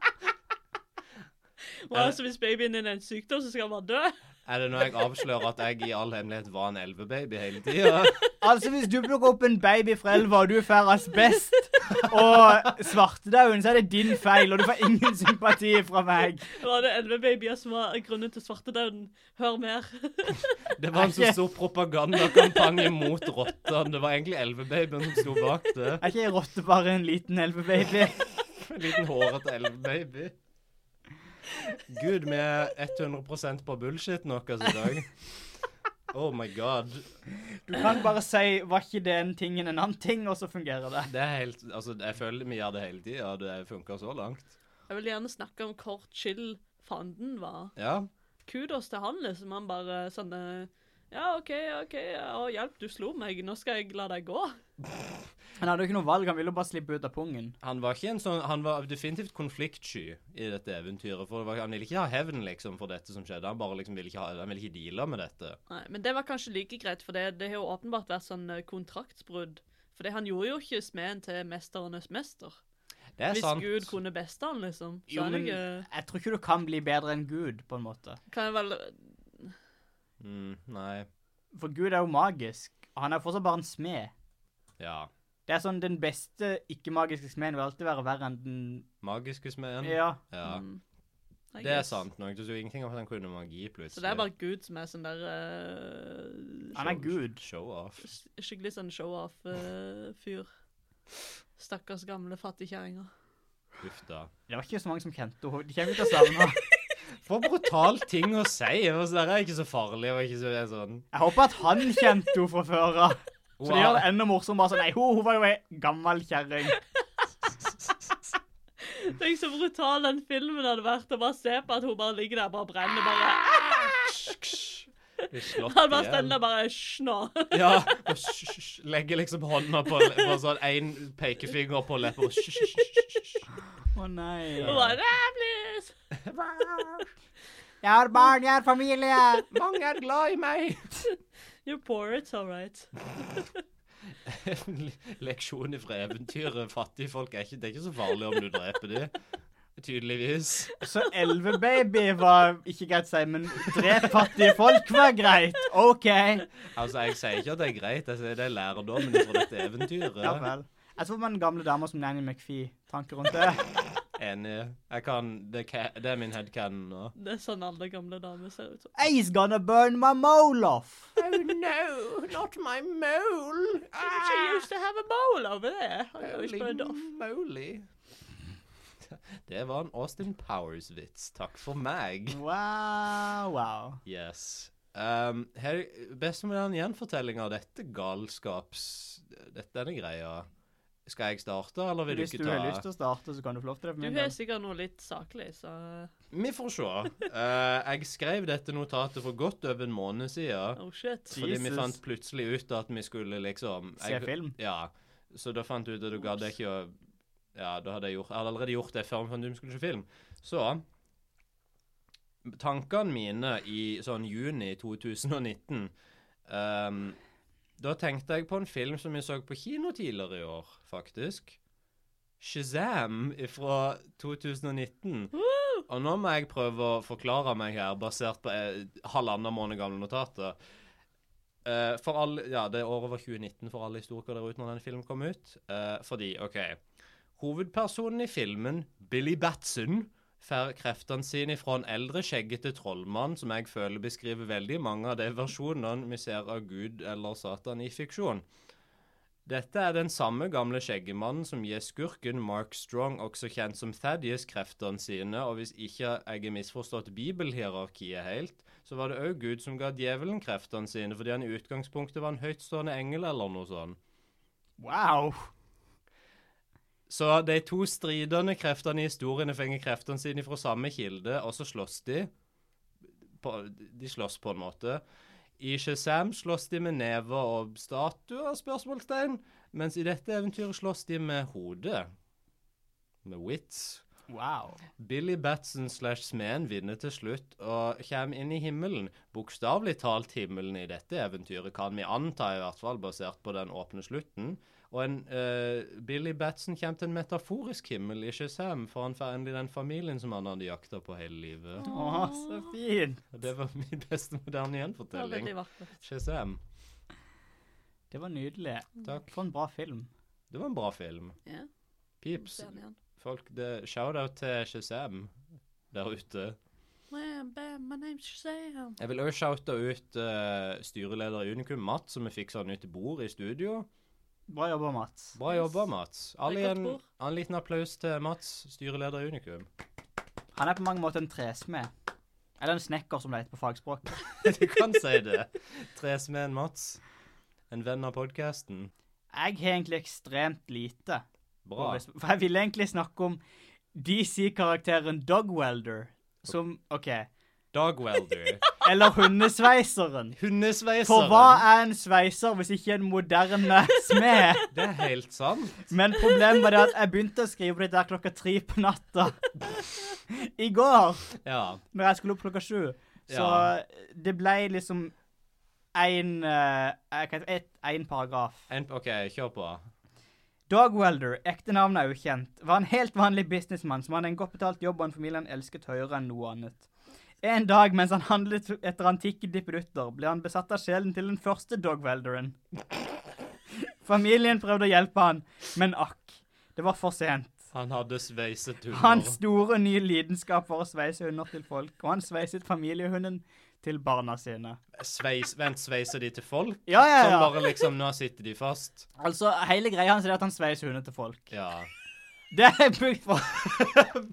Speaker 5: Og altså, hvis babyen din er en sykdom, så skal han bare dø.
Speaker 1: Er det når jeg avslører at jeg i all hemmelighet var en elvebaby hele tida?
Speaker 2: Altså, hvis du plukker opp en baby fra elva, og du får asbest og svartedauden, så er det din feil, og du får ingen sympati fra meg.
Speaker 5: Var det elleve babyer som var grunnen til svartedauden? Hør mer.
Speaker 1: Det var en så stor propagandakampanje mot rottene. Det var egentlig elvebabyen som sto bak det.
Speaker 2: Er ikke ei rotte bare en liten elvebaby?
Speaker 1: En liten hårete elvebaby. Gud, vi er 100 på bullshit nok altså i dag. Oh my god.
Speaker 2: Du kan bare si 'var ikke det en ting enn en annen ting', og så fungerer det.
Speaker 1: Det er helt Altså, jeg føler vi gjør det hele tida, og det funker så langt.
Speaker 5: Jeg vil gjerne snakke om hvor chill fanden var.
Speaker 1: Ja.
Speaker 5: kudos til han, liksom. Han bare sånn eh, Ja, OK, OK, å, hjelp, du slo meg. Nå skal jeg la deg gå.
Speaker 2: Han hadde jo ikke noe valg, han ville jo bare slippe ut av pungen.
Speaker 1: Han var ikke en sånn Han var definitivt konfliktsky i dette eventyret. For det var, han ville ikke ha hevn, liksom, for dette som skjedde. Han bare liksom ville ikke ha Han ville ikke deale med dette.
Speaker 5: Nei, Men det var kanskje like greit, for det, det har jo åpenbart vært sånn eh, kontraktsbrudd. For det- han gjorde jo ikke smeden til mesternes mester.
Speaker 1: Det er
Speaker 5: Hvis
Speaker 1: sant.
Speaker 5: Gud kunne beste han, liksom. Så
Speaker 2: Jo,
Speaker 5: er det
Speaker 2: men
Speaker 5: ikke
Speaker 2: jeg tror ikke du kan bli bedre enn Gud, på en måte.
Speaker 5: Kan jeg vel
Speaker 1: Mm, nei.
Speaker 2: For Gud er jo magisk, og han er fortsatt bare en smed.
Speaker 1: Ja.
Speaker 2: Det er sånn, Den beste ikke-magiske smeden vil alltid være verre enn den
Speaker 1: Magiske smeden.
Speaker 2: Ja.
Speaker 1: Ja.
Speaker 5: mm, I
Speaker 1: Det er
Speaker 5: guess.
Speaker 1: sant nok. Du så ingenting om at han kunne magi, plutselig.
Speaker 5: Så det er bare Gud som er sånn der eh,
Speaker 2: Han er Gud.
Speaker 1: Show-off.
Speaker 5: sk- Skikkelig sånn show-off-fyr. Stakkars gamle fattigkjerringer.
Speaker 1: Uff da.
Speaker 2: Det var ikke så mange som kjente henne. De kommer ikke til å savne henne.
Speaker 1: For brutal ting å si! Det var sånn, Det er ikke så farlig. og ikke så det er sånn.
Speaker 2: Jeg håper at han kjente henne fra før av. Så det gjør det enda morsommere. Sånn, nei, hun, hun var jo ei gammel kjerring.
Speaker 5: Tenk så brutal den filmen hadde vært. Å bare se på at hun bare ligger der bare brenner. bare... ah!
Speaker 1: Blir slått
Speaker 5: Han bare
Speaker 1: ihjel.
Speaker 5: stender bare Hysj nå.
Speaker 1: Ja. og sh- sh- sh- Legger liksom hånda på le- bare sånn én pekefinger på leppa. og sh- sh- sh- sh- sh- sh.
Speaker 2: Å nei.
Speaker 5: Hun bare «Nei, please.
Speaker 2: Jeg har barn, jeg har familie.
Speaker 4: Mange er glad i meg.
Speaker 5: You're poor, it's all right.
Speaker 1: Leksjon fra eventyret. Fattigfolk er ikke Det er ikke så farlig om du dreper dem. Tydeligvis.
Speaker 2: Så elvebaby var ikke greit å si, men drep fattige folk var greit. OK.
Speaker 1: Altså, jeg sier ikke at det er greit. Jeg sier det er lærdommen fra dette eventyret.
Speaker 2: Ja vel. Jeg tror man gamle damer som Nanny McPhee tanker rundt det.
Speaker 1: Enig. Jeg kan, det, ka- det er min headcanon nå.
Speaker 5: Det er sånn alle gamle damer ser ut som.
Speaker 2: He's gonna burn my mole off.
Speaker 4: Oh no, not my mole.
Speaker 5: She used to have a bowl over there. I always burned
Speaker 1: Holy
Speaker 5: off.
Speaker 1: moly. Det var en Austin Powers-vits. Takk for meg.
Speaker 2: Wow, wow.
Speaker 1: Yes. Um, her, best med den gjenfortellinga av dette galskaps... Dette, denne greia. Skal jeg starte, eller vil du
Speaker 2: Hvis
Speaker 1: ikke
Speaker 2: du
Speaker 1: ta
Speaker 2: har lyst til å starte, så kan du få lov til det. for
Speaker 5: Du
Speaker 2: min
Speaker 5: har
Speaker 2: del.
Speaker 5: sikkert noe litt saklig, så
Speaker 1: Vi får se. Eh, jeg skrev dette notatet for godt over en måned siden.
Speaker 5: Oh shit.
Speaker 1: Fordi vi
Speaker 2: Jesus.
Speaker 1: fant plutselig ut at vi skulle liksom
Speaker 2: Se film?
Speaker 1: Ja. Så da fant vi ut at du gadd ikke å Ja, da hadde jeg gjort Jeg hadde allerede gjort det før vi fant ut vi skulle se film. Så Tankene mine i sånn juni 2019 ehm, Da tenkte jeg på en film som vi så på kino tidligere i år, faktisk. Shazam fra 2019. Og nå må jeg prøve å forklare meg her, basert på eh, halvannen måned gamle notater. Eh, for alle, ja, det året var 2019 for alle historikere der ute når den filmen kom ut. Eh, fordi, OK Hovedpersonen i filmen, Billy Batson, får kreftene sine fra en eldre, skjeggete trollmann som jeg føler beskriver veldig mange av de versjonene vi ser av Gud eller Satan i fiksjon. Dette er den samme gamle skjeggemannen som gir skurken Mark Strong, også kjent som Thaddeus, kreftene sine, og hvis ikke jeg har misforstått bibelhierarkiet helt, så var det òg Gud som ga djevelen kreftene sine, fordi han i utgangspunktet var en høytstående engel eller noe sånt.
Speaker 2: Wow.
Speaker 1: Så de to stridende kreftene i historiene fenger kreftene sine fra samme kilde, og så slåss de. På, de slåss på en måte. I Shazam slåss de med never og statuer, spørsmålstegn, mens i dette eventyret slåss de med hodet. Med wits.
Speaker 2: Wow.
Speaker 1: Billy Batson slash smeden vinner til slutt og kommer inn i himmelen. Bokstavelig talt himmelen i dette eventyret, kan vi anta i hvert fall, basert på den åpne slutten. Og en, eh, Billy Batson kommer til en metaforisk himmel i Shazam, for han får endelig den familien som han hadde jakta på hele livet.
Speaker 2: Å, så fin.
Speaker 1: Og Det var min beste moderne
Speaker 5: Det var
Speaker 1: gjenfortelling.
Speaker 5: veldig vakkert.
Speaker 1: Shazam.
Speaker 2: Det var nydelig.
Speaker 5: Mm.
Speaker 1: Takk.
Speaker 2: For en bra film.
Speaker 1: Det var en bra film.
Speaker 5: Ja,
Speaker 1: Pips.
Speaker 5: ser den igjen.
Speaker 1: Folk, det, shout-out til Shazam der ute.
Speaker 5: Wham, bam, my name's Shazam.
Speaker 1: Jeg vil også shoute ut eh, styreleder i Unikum, Mats, som vi fiksa nytt bord i studio.
Speaker 2: Bra jobba, Mats.
Speaker 1: Bra
Speaker 5: Yes.
Speaker 1: jobba, Mats. Alle
Speaker 5: Det er godt
Speaker 1: en,
Speaker 5: bord.
Speaker 1: en liten applaus til Mats, styreleder i Unikum.
Speaker 2: Han er på mange måter en tresmed. Eller en snekker, som det heter på fagspråk.
Speaker 1: du kan si det. Tresmeden Mats. En venn av podkasten.
Speaker 2: Jeg har egentlig ekstremt lite.
Speaker 1: Bra.
Speaker 2: For jeg ville egentlig snakke om DC-karakteren Dogwelder, som OK.
Speaker 1: Dogwelder.
Speaker 2: Eller hundesveiseren.
Speaker 1: Hundesveiseren.
Speaker 2: For hva er en sveiser hvis ikke en moderne smed?
Speaker 1: Det er helt sant.
Speaker 2: Men problemet var det at jeg begynte å skrive på det der klokka tre på natta i går,
Speaker 1: Ja.
Speaker 2: når jeg skulle opp klokka sju. Så
Speaker 1: Ja.
Speaker 2: det ble liksom eh, én Én paragraf.
Speaker 1: En, OK, kjør på.
Speaker 2: Dog Welder, ekte navn er ukjent, var en helt vanlig businessmann som hadde en godt betalt jobb og en familie han elsket høyere enn noe annet. En dag mens han handlet etter antikke dippedutter, ble han besatt av sjelen til den første Dog Welderen. Familien prøvde å hjelpe han, men akk, det var for sent.
Speaker 1: Han hadde sveiset hunder.
Speaker 2: Hans store nye lidenskap var å sveise hunder til folk, og han sveiset familiehunden til barna sine.
Speaker 1: Sveis, vent, sveiser de til folk?
Speaker 2: Ja, ja,
Speaker 1: Sånn
Speaker 2: ja.
Speaker 1: bare liksom, nå sitter de fast?
Speaker 2: Altså, hele greia hans er at han sveiser hunder til folk.
Speaker 1: Ja.
Speaker 2: Det er brukt for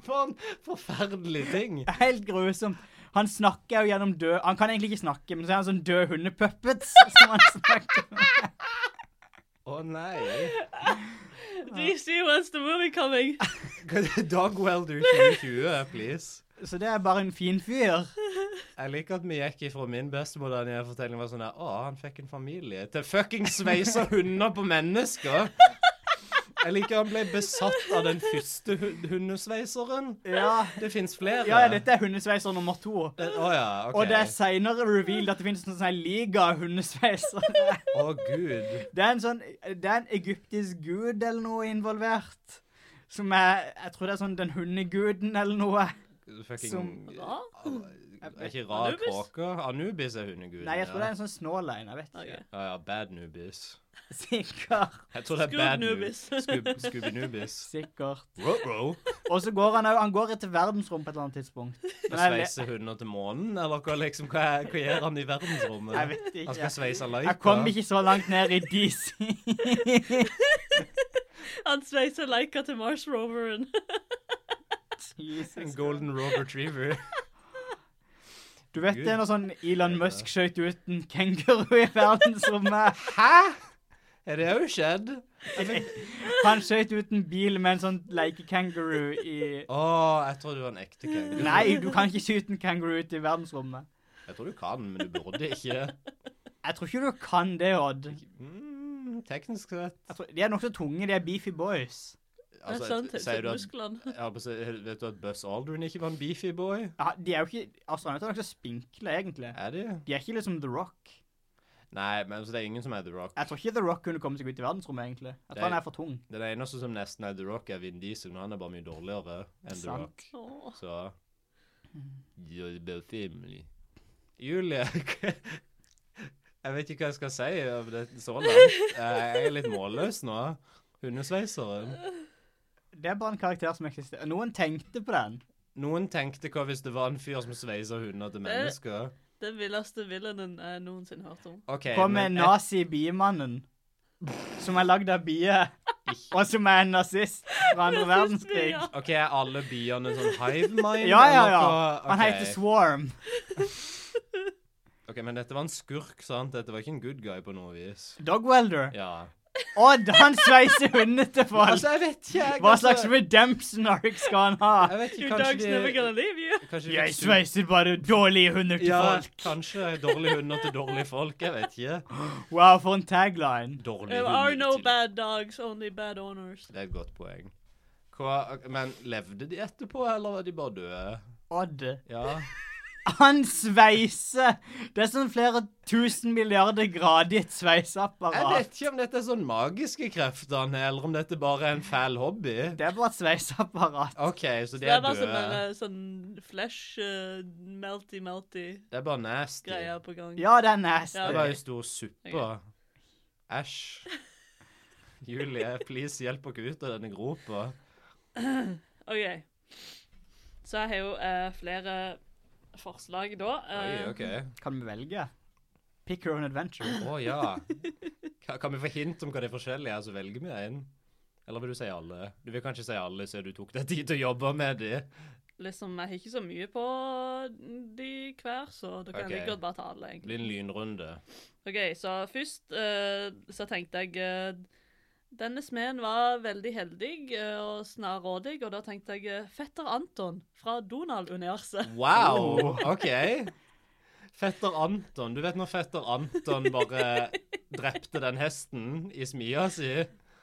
Speaker 1: For en forferdelig ting.
Speaker 2: helt grusomt. Han snakker jo gjennom død... Han kan egentlig ikke snakke, men så er han sånn død hundepuppets som han snakker med.
Speaker 1: Å nei.
Speaker 5: DC wants the movie coming.
Speaker 1: Dog Welder 2020, please.
Speaker 2: Så det er bare en fin fyr.
Speaker 1: Jeg liker at vi gikk ifra min bestemor da jeg fortelling var sånn der, å, han fikk en familie, til fucking sveisa hunder på mennesker. Jeg liker han ble besatt av den første hu- hundesveiseren.
Speaker 2: Ja,
Speaker 1: Det fins flere.
Speaker 2: ja dette er hundesveiser nummer to.
Speaker 1: Det- Å ja, OK.
Speaker 2: Og det er seinere revealed at det finnes en sånn liga av hundesveisere.
Speaker 1: Å gud.
Speaker 2: Det er en sånn Det er en egyptisk gud eller noe involvert. Som er Jeg tror det er sånn den hundeguden eller noe.
Speaker 1: Fucking
Speaker 2: Som-
Speaker 5: Ra?
Speaker 1: Er ikke rar
Speaker 5: Anubis?
Speaker 1: kråke? Anubis er hundeguden.
Speaker 2: Nei, jeg tror det
Speaker 1: ja.
Speaker 2: er en sånn snål en. Jeg vet
Speaker 5: Ok.
Speaker 2: ikke.
Speaker 1: Ja, ja, Bad Nubis.
Speaker 2: Sikkert.
Speaker 1: Jeg tror det er
Speaker 5: Scoob
Speaker 1: Bad Nubis.
Speaker 5: Nubis.
Speaker 1: Scooby Nubis.
Speaker 2: Sikkert.
Speaker 1: Wow,
Speaker 2: Og så går han òg Han går etter verdensrom på et eller annet tidspunkt. Men jeg, le-
Speaker 1: Sveise hunder til månen, eller hva, liksom, hva, er- hva gjør han i verdensrommet?
Speaker 2: jeg vet
Speaker 1: Han skal
Speaker 2: ikke.
Speaker 1: sveise leika.
Speaker 2: Jeg kom ikke så langt ned i DC.
Speaker 5: Han sveiser leika til Mars Roveren.
Speaker 1: En
Speaker 2: Jesus.
Speaker 1: golden rover retriever.
Speaker 2: Du vet det er noe sånn Elon
Speaker 1: Gud.
Speaker 2: Musk skjøt ut en kenguru i verdensrommet?
Speaker 1: Hæ? Er det òg skjedd?
Speaker 2: Han skjøt ut en bil med en sånn lekekenguru i
Speaker 1: Å, jeg tror du var en ekte kenguru.
Speaker 2: Nei, du kan ikke skyte en kenguru ut i verdensrommet.
Speaker 1: Jeg tror du kan, men du burde ikke.
Speaker 2: Jeg tror ikke du kan det, Odd.
Speaker 1: Mm, teknisk sett.
Speaker 2: Jeg tror, de er nokså tunge, de er beefy boys.
Speaker 5: Altså,
Speaker 1: Altså,
Speaker 5: sant,
Speaker 1: sier du at,
Speaker 5: musklene.
Speaker 1: ja, men sier- vet du at Buzz Aldrin ikke var en beefy boy?
Speaker 2: Ja, de er jo ikke Astronauter er nokså spinkle, egentlig.
Speaker 1: Er de?
Speaker 2: De er ikke liksom The Rock.
Speaker 1: Nei, men altså, det er ingen som er The Rock.
Speaker 2: Jeg tror ikke The Rock kunne komme seg ut i verdensrommet, egentlig. Jeg
Speaker 1: Det er-
Speaker 2: tror han er for tung.
Speaker 1: Den eneste som nesten er The Rock, er Vin Diesel, men han er bare mye dårligere enn The
Speaker 2: Sant.
Speaker 1: Rock.
Speaker 5: Åh.
Speaker 1: Så
Speaker 2: Mm.
Speaker 1: You're the family. Julie Jeg vet ikke hva jeg skal si om det så langt. Jeg er litt målløs nå. Hundesveiseren.
Speaker 2: Det er bare en karakter som eksisterer. Noen tenkte på den.
Speaker 1: Noen tenkte hva hvis det var en fyr som sveiser hunder til mennesker?
Speaker 5: Den villeste villainen jeg noensinne har hørt om.
Speaker 1: OK,
Speaker 2: Kom med
Speaker 1: Eh, men jeg,
Speaker 2: nazi-biemannen. Som er lagd av bier. Og som er en nazist fra andre verdenskrig.
Speaker 5: Ja.
Speaker 1: ok, er alle biene sånn hive mind?
Speaker 2: Ja, ja, ja.
Speaker 1: eller hva?
Speaker 2: Han
Speaker 1: Ok.
Speaker 2: heter Swarm.
Speaker 1: OK, men dette var en skurk, sant? Dette var ikke en good guy på noe vis.
Speaker 2: Dogwelder.
Speaker 1: Ja.
Speaker 2: Odd, han sveiser hunder til folk.
Speaker 1: Altså, jeg vet ikke, jeg.
Speaker 2: Hva
Speaker 1: altså-
Speaker 2: slags redemption arc skal han ha?
Speaker 1: Jeg vet ikke,
Speaker 5: Your dog's never
Speaker 1: kanskje
Speaker 5: gonna leave you.
Speaker 1: de kanskje de
Speaker 2: Jeg
Speaker 1: fikk su-
Speaker 2: sveiser bare dårlige hunder til
Speaker 1: Ja,
Speaker 2: folk.
Speaker 1: kanskje dårlige hunder til dårlige folk. Jeg vet ikke.
Speaker 2: Wow, for en tagline.
Speaker 1: Dårlige
Speaker 5: There are
Speaker 1: hunder
Speaker 5: no
Speaker 1: til
Speaker 5: bad dogs, only bad owners.
Speaker 1: Det er et godt poeng. Hva, men levde de etterpå, eller var de bare døde?
Speaker 2: Odd.
Speaker 1: Ja.
Speaker 2: Han sveiser! Det er sånn flere tusen milliarder grader i et
Speaker 1: Jeg
Speaker 2: sveiseapparat.
Speaker 1: vet ikke om dette er sånn magiske krefter, han er, eller om dette bare er en fæl hobby.
Speaker 2: Det er bare et sveiseapparat.
Speaker 1: OK, så de
Speaker 5: Det
Speaker 1: er
Speaker 5: er bare sånn,
Speaker 1: døde.
Speaker 5: der, eh, sånn flesh, eh, melty, melty
Speaker 1: Det er bare nasty. Det
Speaker 5: greier på gang.
Speaker 2: Ja, det er nasty.
Speaker 5: Ja,
Speaker 1: er bare en stor suppe.
Speaker 5: Ok.
Speaker 1: Æsj. Julie, please hjelp oss ut av denne gropa.
Speaker 5: OK. Så jeg har jo eh, flere forslag da.
Speaker 1: Oi,
Speaker 5: Eh,
Speaker 1: OK.
Speaker 2: Kan vi velge? Pick your own adventure.
Speaker 1: Å ja. Ka- Kan vi få hint om hva det forskjellige er, så velger vi en? Eller vil du si alle? Du vil kanskje si alle, siden du tok deg tid til å jobbe med de.
Speaker 5: Liksom, Jeg har ikke så mye på de hver, så da kan
Speaker 1: Ok.
Speaker 5: jeg like godt bare ta alle.
Speaker 1: Det
Speaker 5: egentlig.
Speaker 1: blir en lynrunde.
Speaker 5: OK, så først eh, så tenkte jeg eh, Denne smeden var veldig heldig eh, og snarrådig, og da tenkte jeg eh, fetter Anton fra Donald-universet.
Speaker 1: Wow!
Speaker 2: Oh.
Speaker 1: OK. Fetter Anton. Du vet når fetter Anton bare drepte den hesten i smia si?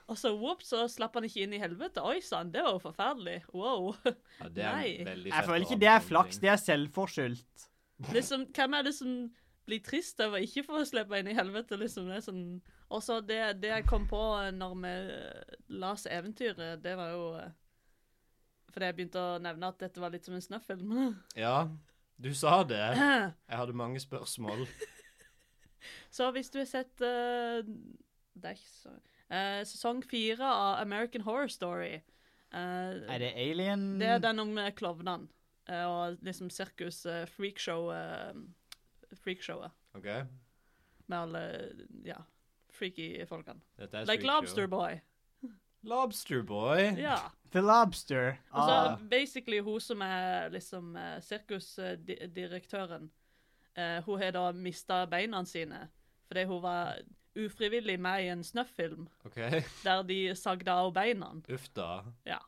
Speaker 5: Og så whoops, så slapp han ikke inn i helvete. Oi sann, det var jo forferdelig. Wow.
Speaker 1: Ja, det er
Speaker 5: Nei.
Speaker 1: en veldig
Speaker 2: Jeg
Speaker 1: fetter
Speaker 2: føler ikke det er
Speaker 1: Anton-ting.
Speaker 2: flaks, det er selvforskyldt.
Speaker 5: Liksom, hvem er det som blir trist over ikke å få slippe inn i helvete, liksom? Det er sånn... Og så det, det jeg kom på eh, når vi eh, las eventyret, det var jo eh, Fordi jeg begynte å nevne at dette var litt som en snøfilm.
Speaker 1: Ja, du sa det. Jeg hadde mange spørsmål.
Speaker 5: Så hvis du har sett eh, Det er ikke så eh, Sesong fire av American Horror Story eh,
Speaker 2: Er det alien
Speaker 5: Det er den om eh, klovnene eh, og liksom sirkus, eh, freakshow eh, Freakshowet
Speaker 1: OK?
Speaker 5: med alle ja, freaky folkene.
Speaker 1: Dette er
Speaker 5: Like
Speaker 1: Squeak Show.
Speaker 5: Lobster Boy.
Speaker 1: Lobster Boy.
Speaker 5: Ja.
Speaker 2: The Lobster?
Speaker 5: Og så
Speaker 2: Ah,
Speaker 5: basically hun som er liksom eh, sirkusdirektøren, eh, hun har da mista beina sine fordi hun var ufrivillig med i en snøfilm
Speaker 1: OK.
Speaker 5: der de sagde av beina.
Speaker 1: Uff da.
Speaker 5: Ja.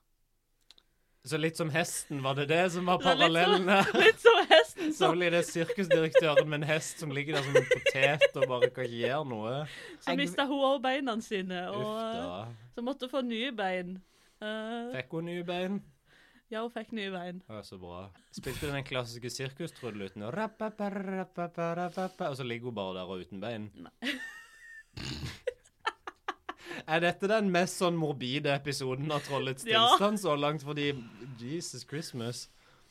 Speaker 1: Så litt som hesten, var det det som var
Speaker 5: Det er litt som-
Speaker 1: parallellen her?
Speaker 5: Litt som hesten
Speaker 1: Så
Speaker 5: som
Speaker 1: blir det sirkusdirektøren med en hest som ligger der som en potet og bare ikke gjør noe.
Speaker 5: Så mista hun òg beina sine, og
Speaker 1: Uff da.
Speaker 5: eh, så måtte hun få nye bein. Eh,
Speaker 1: Fikk hun nye bein?
Speaker 5: ja, hun fikk nye bein.
Speaker 1: Ja, så bra. Spilte den klassiske sirkustrudluten, og rappa-rappa-rappa-rappa, og så ligger hun bare der og uten bein. Er dette den mest sånn morbide episoden av Trollets
Speaker 5: Ja.
Speaker 1: tilstand så langt? Fordi Jesus Christmas.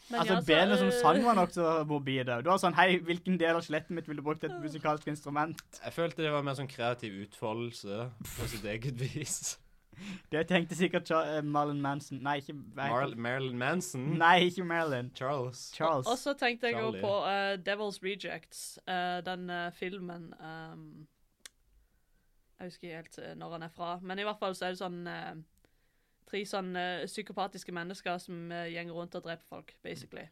Speaker 5: Men
Speaker 2: altså,
Speaker 5: ja, så,
Speaker 2: benene som
Speaker 5: eh,
Speaker 2: sang var nokså mobile. Du var sånn Hei, hvilken del av skjelettet mitt ville du brukt til et musikalsk instrument?
Speaker 1: Jeg følte det var mer sånn kreativ utfoldelse på sitt eget vis.
Speaker 2: Det tenkte sikkert Cha- eh, Marlon Manson. Nei, ikke nei,
Speaker 1: Mar Marilyn Manson.
Speaker 2: Nei, ikke Marilyn.
Speaker 1: Charles.
Speaker 2: Charles.
Speaker 5: Mm. Og så tenkte jeg òg
Speaker 1: Charlie.
Speaker 5: på eh, Devil's Rejects, eh, den eh, filmen ehm, Jeg husker ikke helt eh, når han er fra, men i hvert fall så er det sånn eh, Tre sånn eh, psykopatiske mennesker som uh, gjenger rundt og dreper folk, basically.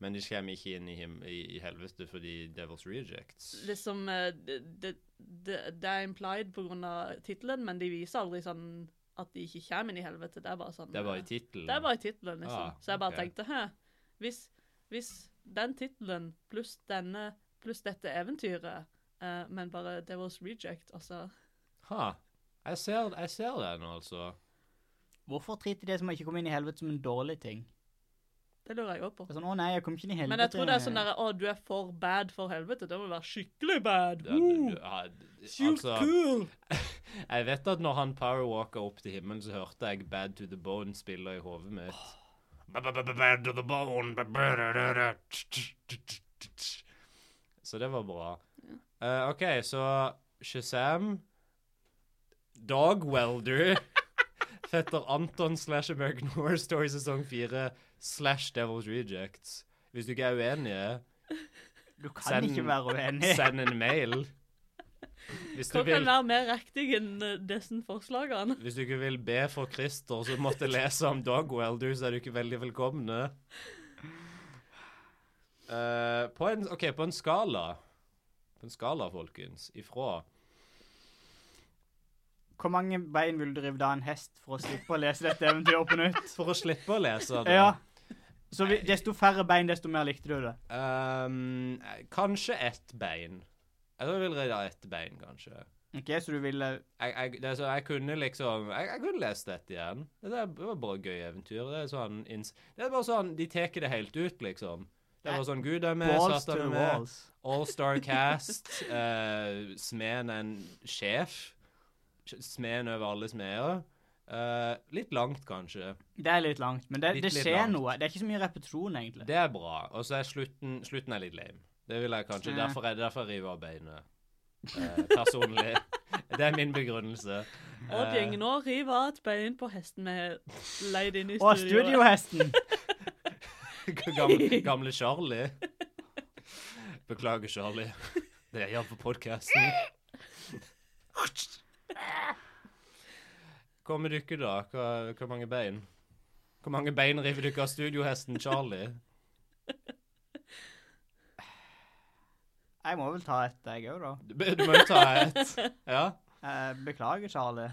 Speaker 1: Men de kommer ikke inn i, him i, i helvete fordi Devil's Rejects.
Speaker 5: Liksom eh, det, det, det, det er implied pga. tittelen, men de viser aldri sånn at de ikke kommer inn i helvete. Det er bare sånn
Speaker 1: Det er bare
Speaker 5: eh,
Speaker 1: i tittelen.
Speaker 5: Det er bare i tittelen, liksom.
Speaker 1: Ah,
Speaker 5: så jeg bare
Speaker 1: ok.
Speaker 5: tenkte hæ, hvis, hvis den tittelen pluss denne pluss dette eventyret, eh, men bare Devil's Reject, altså
Speaker 1: Ha. Jeg ser, jeg ser det nå, altså.
Speaker 2: Hvorfor driter de som ikke kom inn i helvete som en dårlig ting?
Speaker 5: Det lurer jeg òg på.
Speaker 2: Det er sånn, å nei, jeg kom ikke inn i helvete.
Speaker 5: Men jeg tror det er sånn derre Å, du er for bad for helvete. Da må du være skikkelig bad.
Speaker 1: Det,
Speaker 5: Woo!
Speaker 1: du- ja, d-
Speaker 5: Sjukt
Speaker 1: altså,
Speaker 5: cool!
Speaker 1: jeg vet at når han powerwalka opp til himmelen, så hørte jeg Bad to the Bone spille i hodet mitt. Bad to the Bone Så det var bra. Eh, OK, så Shazam Dog Welder Fetter Anton slash American Horror Story sesong fire slash Devil's Rejects. Hvis du ikke er uenige
Speaker 2: Du kan
Speaker 1: Send-
Speaker 2: ikke være uenig.
Speaker 1: Send en mail. Hvis du,
Speaker 5: Hva kan
Speaker 1: vil,
Speaker 5: være mer riktig enn eh, disse forslagene?
Speaker 1: hvis du ikke vil be for Christer, så måtte lese om Dog Welder, så er du ikke veldig velkomne. Eh, på en, OK, på en skala På en skala, folkens, ifra
Speaker 2: Hvor mange bein vil du rive da en hest for å slippe å lese dette eventyret på nytt?
Speaker 1: For å slippe å lese det.
Speaker 2: Ja. Så vi, desto færre bein, desto mer likte du det.
Speaker 1: Ehm, kanskje ett bein. Jeg tror jeg vil redde ett bein, kanskje.
Speaker 2: Ok, Så du ville
Speaker 1: jeg, jeg, det er så, jeg kunne liksom Jeg, jeg kunne lest dette igjen. Det er- det var bare gøy eventyr. Det er sånn inns- Det er bare sånn De tar det helt ut, liksom. Det var sånn Gud er med,
Speaker 2: Balls to
Speaker 1: Satan
Speaker 2: the
Speaker 1: er med.
Speaker 2: walls.
Speaker 1: Allstar cast. eh, smeden er en sjef. Sj- Smeden over alle smeder. Eh, litt langt, kanskje.
Speaker 2: Det er litt langt, men det,
Speaker 1: Litt,
Speaker 2: det
Speaker 1: litt
Speaker 2: skjer
Speaker 1: langt.
Speaker 2: noe. Det er ikke så mye repetisjon, egentlig.
Speaker 1: Det er bra. Og så er slutten Slutten er litt lame. Det vil jeg kanskje.
Speaker 2: Ja.
Speaker 1: Derfor er det derfor jeg river av beinet. Eh, personlig. det er min begrunnelse.
Speaker 5: Odd
Speaker 1: Eh,
Speaker 5: gjengen nå river av et bein på hesten med leid inn i
Speaker 2: Og
Speaker 5: studioet.
Speaker 2: studiohesten!
Speaker 1: gamle, gamle Charlie. Beklager, Charlie. Det er jeg på podkasten. Hva med dere, da? Hva, hvor mange bein? Hvor mange bein river dere av studiohesten Charlie?
Speaker 2: Jeg må vel ta et, jeg òg, da.
Speaker 1: Du, du må jo ta et. Ja.
Speaker 2: Eh, beklager, Charlie.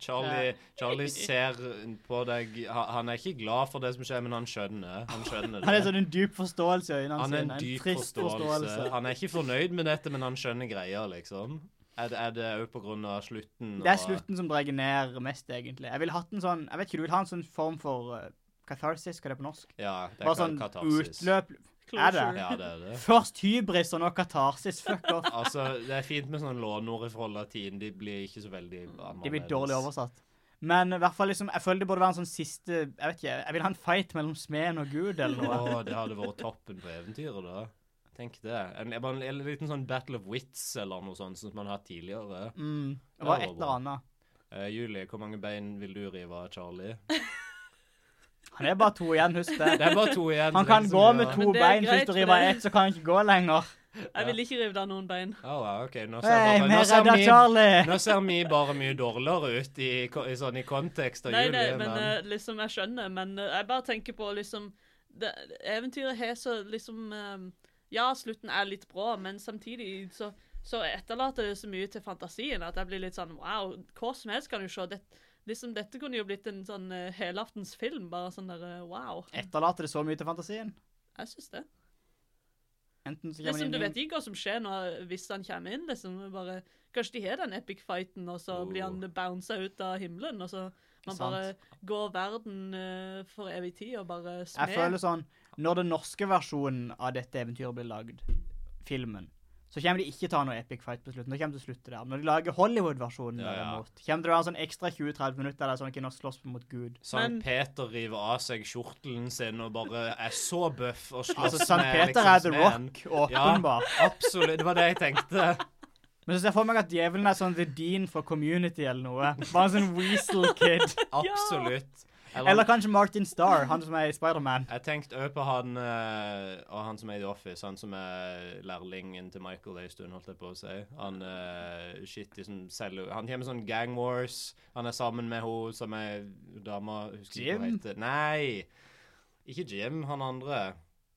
Speaker 1: Charlie, Charlie ser på deg ha- Han er ikke glad for det som skjer, men han skjønner. Han skjønner
Speaker 2: Han er
Speaker 1: det.
Speaker 2: sånn en dyp forståelse i øynene
Speaker 1: Han er
Speaker 2: sine.
Speaker 1: en dyp forståelse. Han er ikke fornøyd med dette, men han skjønner greia, liksom. Er det, er det òg på grunn av slutten?
Speaker 2: Det er
Speaker 1: og-
Speaker 2: slutten som drar ned mest, egentlig. Jeg ville hatt en sånn Jeg vet ikke, du vil ha en sånn form for uh, catharsis, hva er det på norsk?
Speaker 1: Ja, det er
Speaker 2: Bare
Speaker 1: ka-
Speaker 2: sånn
Speaker 1: katarsis.
Speaker 2: utløp Er det?
Speaker 5: Closure.
Speaker 1: Ja, det er det.
Speaker 2: Først hybris, og nå katarsis. Fuck off.
Speaker 1: Altså, det er fint med sånne lånord fra latin. De blir ikke så veldig annerledes.
Speaker 2: De blir dårlig oversatt. Men i hvert fall liksom, jeg føler det burde være en sånn siste Jeg vet ikke, jeg vil ha en fight mellom smeden og Gud eller
Speaker 1: Å,
Speaker 2: noe.
Speaker 1: det hadde vært toppen på eventyret, da. Tenk det. En, bare en, en liten sånn Battle of Wits eller noe sånt som man har hatt tidligere.
Speaker 2: Mm,
Speaker 1: Ja,
Speaker 2: det var
Speaker 1: det var
Speaker 2: et eller
Speaker 1: bra.
Speaker 2: annet.
Speaker 1: Eh, Julie, hvor mange bein vil du rive av Charlie?
Speaker 2: Han er bare to igjen, husk det.
Speaker 1: Det er bare to igjen. liksom. det
Speaker 2: Han
Speaker 1: er
Speaker 2: kan
Speaker 1: ikke så
Speaker 2: gå
Speaker 1: mye
Speaker 2: med
Speaker 1: å-
Speaker 2: to
Speaker 5: Men det er
Speaker 2: bein. Hvis
Speaker 5: greit,
Speaker 2: du
Speaker 5: for
Speaker 2: river av
Speaker 5: det-
Speaker 2: ett, så kan han ikke gå lenger.
Speaker 5: Jeg vil ikke rive av noen bein.
Speaker 1: Å, ja, ok. Nå ser, bare,
Speaker 2: Hei,
Speaker 1: sånn,
Speaker 2: vi
Speaker 1: nå, ser
Speaker 2: redda
Speaker 1: vi,
Speaker 2: Charlie!
Speaker 1: nå ser vi bare mye dårligere ut i, ko- i, sånn, i kontekst av
Speaker 5: Nei,
Speaker 1: Julie.
Speaker 5: nei, men eh, liksom, jeg skjønner. Men eh, jeg bare tenker på liksom det, Eventyret har så liksom eh, Ja, slutten er litt brå, men samtidig så, så etterlater det så mye til fantasien at jeg blir litt sånn Wow, hva som helst kan du se. Det, liksom, dette kunne jo blitt en sånn eh, helaftens film. Bare sånn der eh, Wow.
Speaker 2: Etterlater det så mye til fantasien.
Speaker 5: Jeg syns det.
Speaker 2: Enten så kommer
Speaker 5: Liksom, du
Speaker 2: det inn
Speaker 5: vet ikke hva som skjer når, hvis han kommer inn. liksom, bare, Kanskje de har den epic fighten, og så blir han bounsa ut av himmelen. og så Man
Speaker 2: Oh. Sant.
Speaker 5: bare går verden eh, for evig tid og bare smed.
Speaker 2: Jeg føler sånn Når den norske versjonen av dette eventyret blir lagd, filmen, så kommer de ikke ta noe epic fight på slutten. Da kommer det til å slutte der. Men Når de lager Hollywood-versjonen,
Speaker 1: Ja, ja.
Speaker 2: derimot, kommer det til å være sånn ekstra 20-30 minutter der sånn at nå slåss vi mot Gud.
Speaker 1: Sankt
Speaker 5: men-
Speaker 1: Peter river av seg skjortelen sin og bare er så bøff og slåss
Speaker 2: Altså, St. Peter er The
Speaker 1: smeden.
Speaker 2: Rock, åpenbart.
Speaker 1: Absolutt. Det var det jeg tenkte.
Speaker 2: Men så ser jeg for meg at djevelen er sånn The Dean for Community eller noe. Bare en sånn weasel kid.
Speaker 1: Absolutt.
Speaker 2: Eller kanskje Martin Starr, han som er i Spiderman.
Speaker 1: Jeg tenkte òg på han eh, og han som er i The Office, han som er lærlingen til Michael en stund, holdt jeg på å si. Han eh, shitty som selger Han kommer sånn gang wars. Han er sammen med hun som er dama husker ikke hva hun
Speaker 2: Jim?
Speaker 1: heter. Nei, ikke Jim, han andre.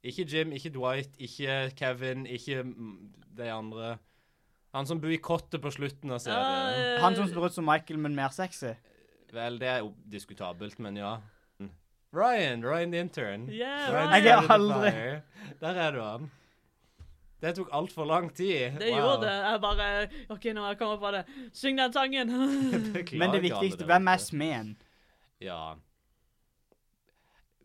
Speaker 1: Ikke Jim, ikke Dwight, ikke Kevin, ikke mm, de andre. Han som bor i kottet på slutten av serien.
Speaker 5: Ja, eh,
Speaker 2: Han som ser ut som Michael, men mer sexy.
Speaker 1: Vel, det er jo diskutabelt, men ja. Ryan, Ryan the Intern.
Speaker 5: eh, Yeah,
Speaker 1: Ryan
Speaker 5: Ryan.
Speaker 2: Jeg er
Speaker 1: started the
Speaker 2: aldri-
Speaker 1: fire. Der er du han. Det tok altfor lang tid.
Speaker 5: Det gjorde det. Jeg bare OK, nå har jeg kommet på det. Syng den sangen!
Speaker 1: Beklager,
Speaker 2: Men det
Speaker 1: alle
Speaker 2: viktigste,
Speaker 1: der
Speaker 2: hvem er
Speaker 1: ute.
Speaker 2: smeden?
Speaker 1: Ja.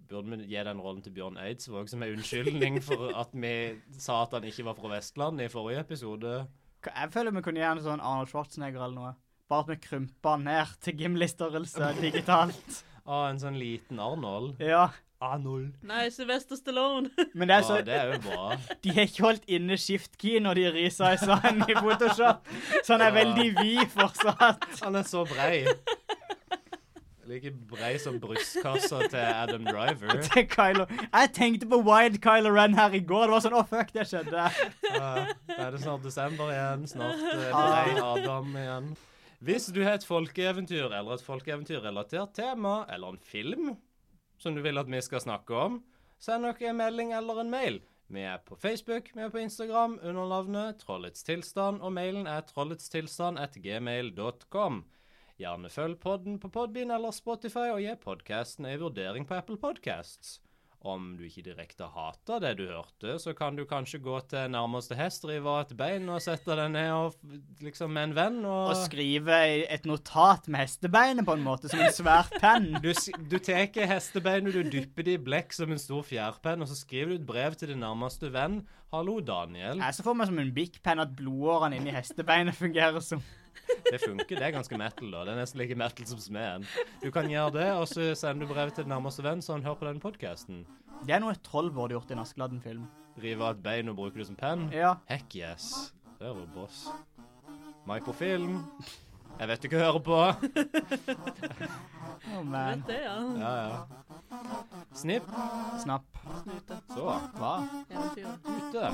Speaker 1: Burde vi gi den rollen til Bjørn Eidsvåg som en unnskyldning for at vi sa at han ikke var fra Vestlandet i forrige episode?
Speaker 2: Ka- Jeg føler vi kunne gjøre en sånn Arnold Schwarzenegger eller noe. Bare at vi krymper han ned til Gimli-størrelse digitalt.
Speaker 1: Ah, en sånn liten Arnold.
Speaker 2: Ja.
Speaker 1: Arnold.
Speaker 5: Nei, Sylvester Stallone.
Speaker 2: Men det er så,
Speaker 1: ah, det er jo bra.
Speaker 2: de har ikke holdt inne shift-key når de resiza han i Photoshop, så han er
Speaker 1: Ja.
Speaker 2: veldig vid fortsatt.
Speaker 1: Han er så brei. Like brei som brystkassa til Adam Driver.
Speaker 2: Til Kylo. Jeg tenkte på Wide Kylo Ren her i går. Det var sånn Å, fuck, det skjedde.
Speaker 1: Ja, Da er det snart desember igjen. Snart eh,
Speaker 2: Ah.
Speaker 1: Brei Adam igjen. Hvis du har et folkeeventyr eller et folkeeventyrrelatert tema eller en film som du vil at vi skal snakke om, send oss en melding eller en mail. Vi er på Facebook, vi er på Instagram under navnet Trollets tilstand, og mailen er trolletstilstand.gmail.com. Gjerne følg podden på Podbean eller Spotify, og gi podkasten en vurdering på Apple Podcasts. Om du ikke direkte hater det du hørte, så kan du kanskje gå til nærmeste hestdriver et bein og sette deg ned og f- liksom med en venn og,
Speaker 2: Å skrive et notat med hestebeinet på en måte, som en svær penn.
Speaker 1: Du, s- du tar hestebeinet, du dypper det i blekk som en stor fjærpenn, og så skriver du et brev til din nærmeste venn. 'Hallo, Daniel'.
Speaker 2: Jeg så for meg som en big penn at blodårene inni hestebeinet fungerer som
Speaker 1: Det funker. Det er ganske metal, da. Det er nesten like metal som smeden. Du kan gjøre det, og så sender du brev til din nærmeste venn, så han hører på den podkasten.
Speaker 2: Det er noe et troll burde gjort i en Askeladden-film.
Speaker 1: Rive av et bein og bruke det som penn.
Speaker 2: Ja.
Speaker 1: Heck yes. Der var boss. Microfilm. Jeg vet du ikke hører på.
Speaker 2: Å,
Speaker 5: Du
Speaker 2: man.
Speaker 5: vet det, ja.
Speaker 1: Ja, ja. Snipp.
Speaker 2: Snapp.
Speaker 5: Snute.
Speaker 1: Så.
Speaker 2: Hva?
Speaker 5: Eventyr.
Speaker 1: Ute.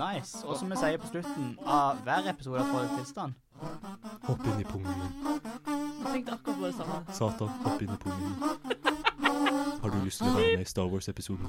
Speaker 2: Nice. Og som vi sier på slutten av hver episode av Trollet Tilstand
Speaker 3: Hopp inn i pungen min.
Speaker 5: Jeg tenkte akkurat på det samme.
Speaker 3: Satan, hopp inn i pungen min. Har du lyst til å være med i Star Wars-episoden?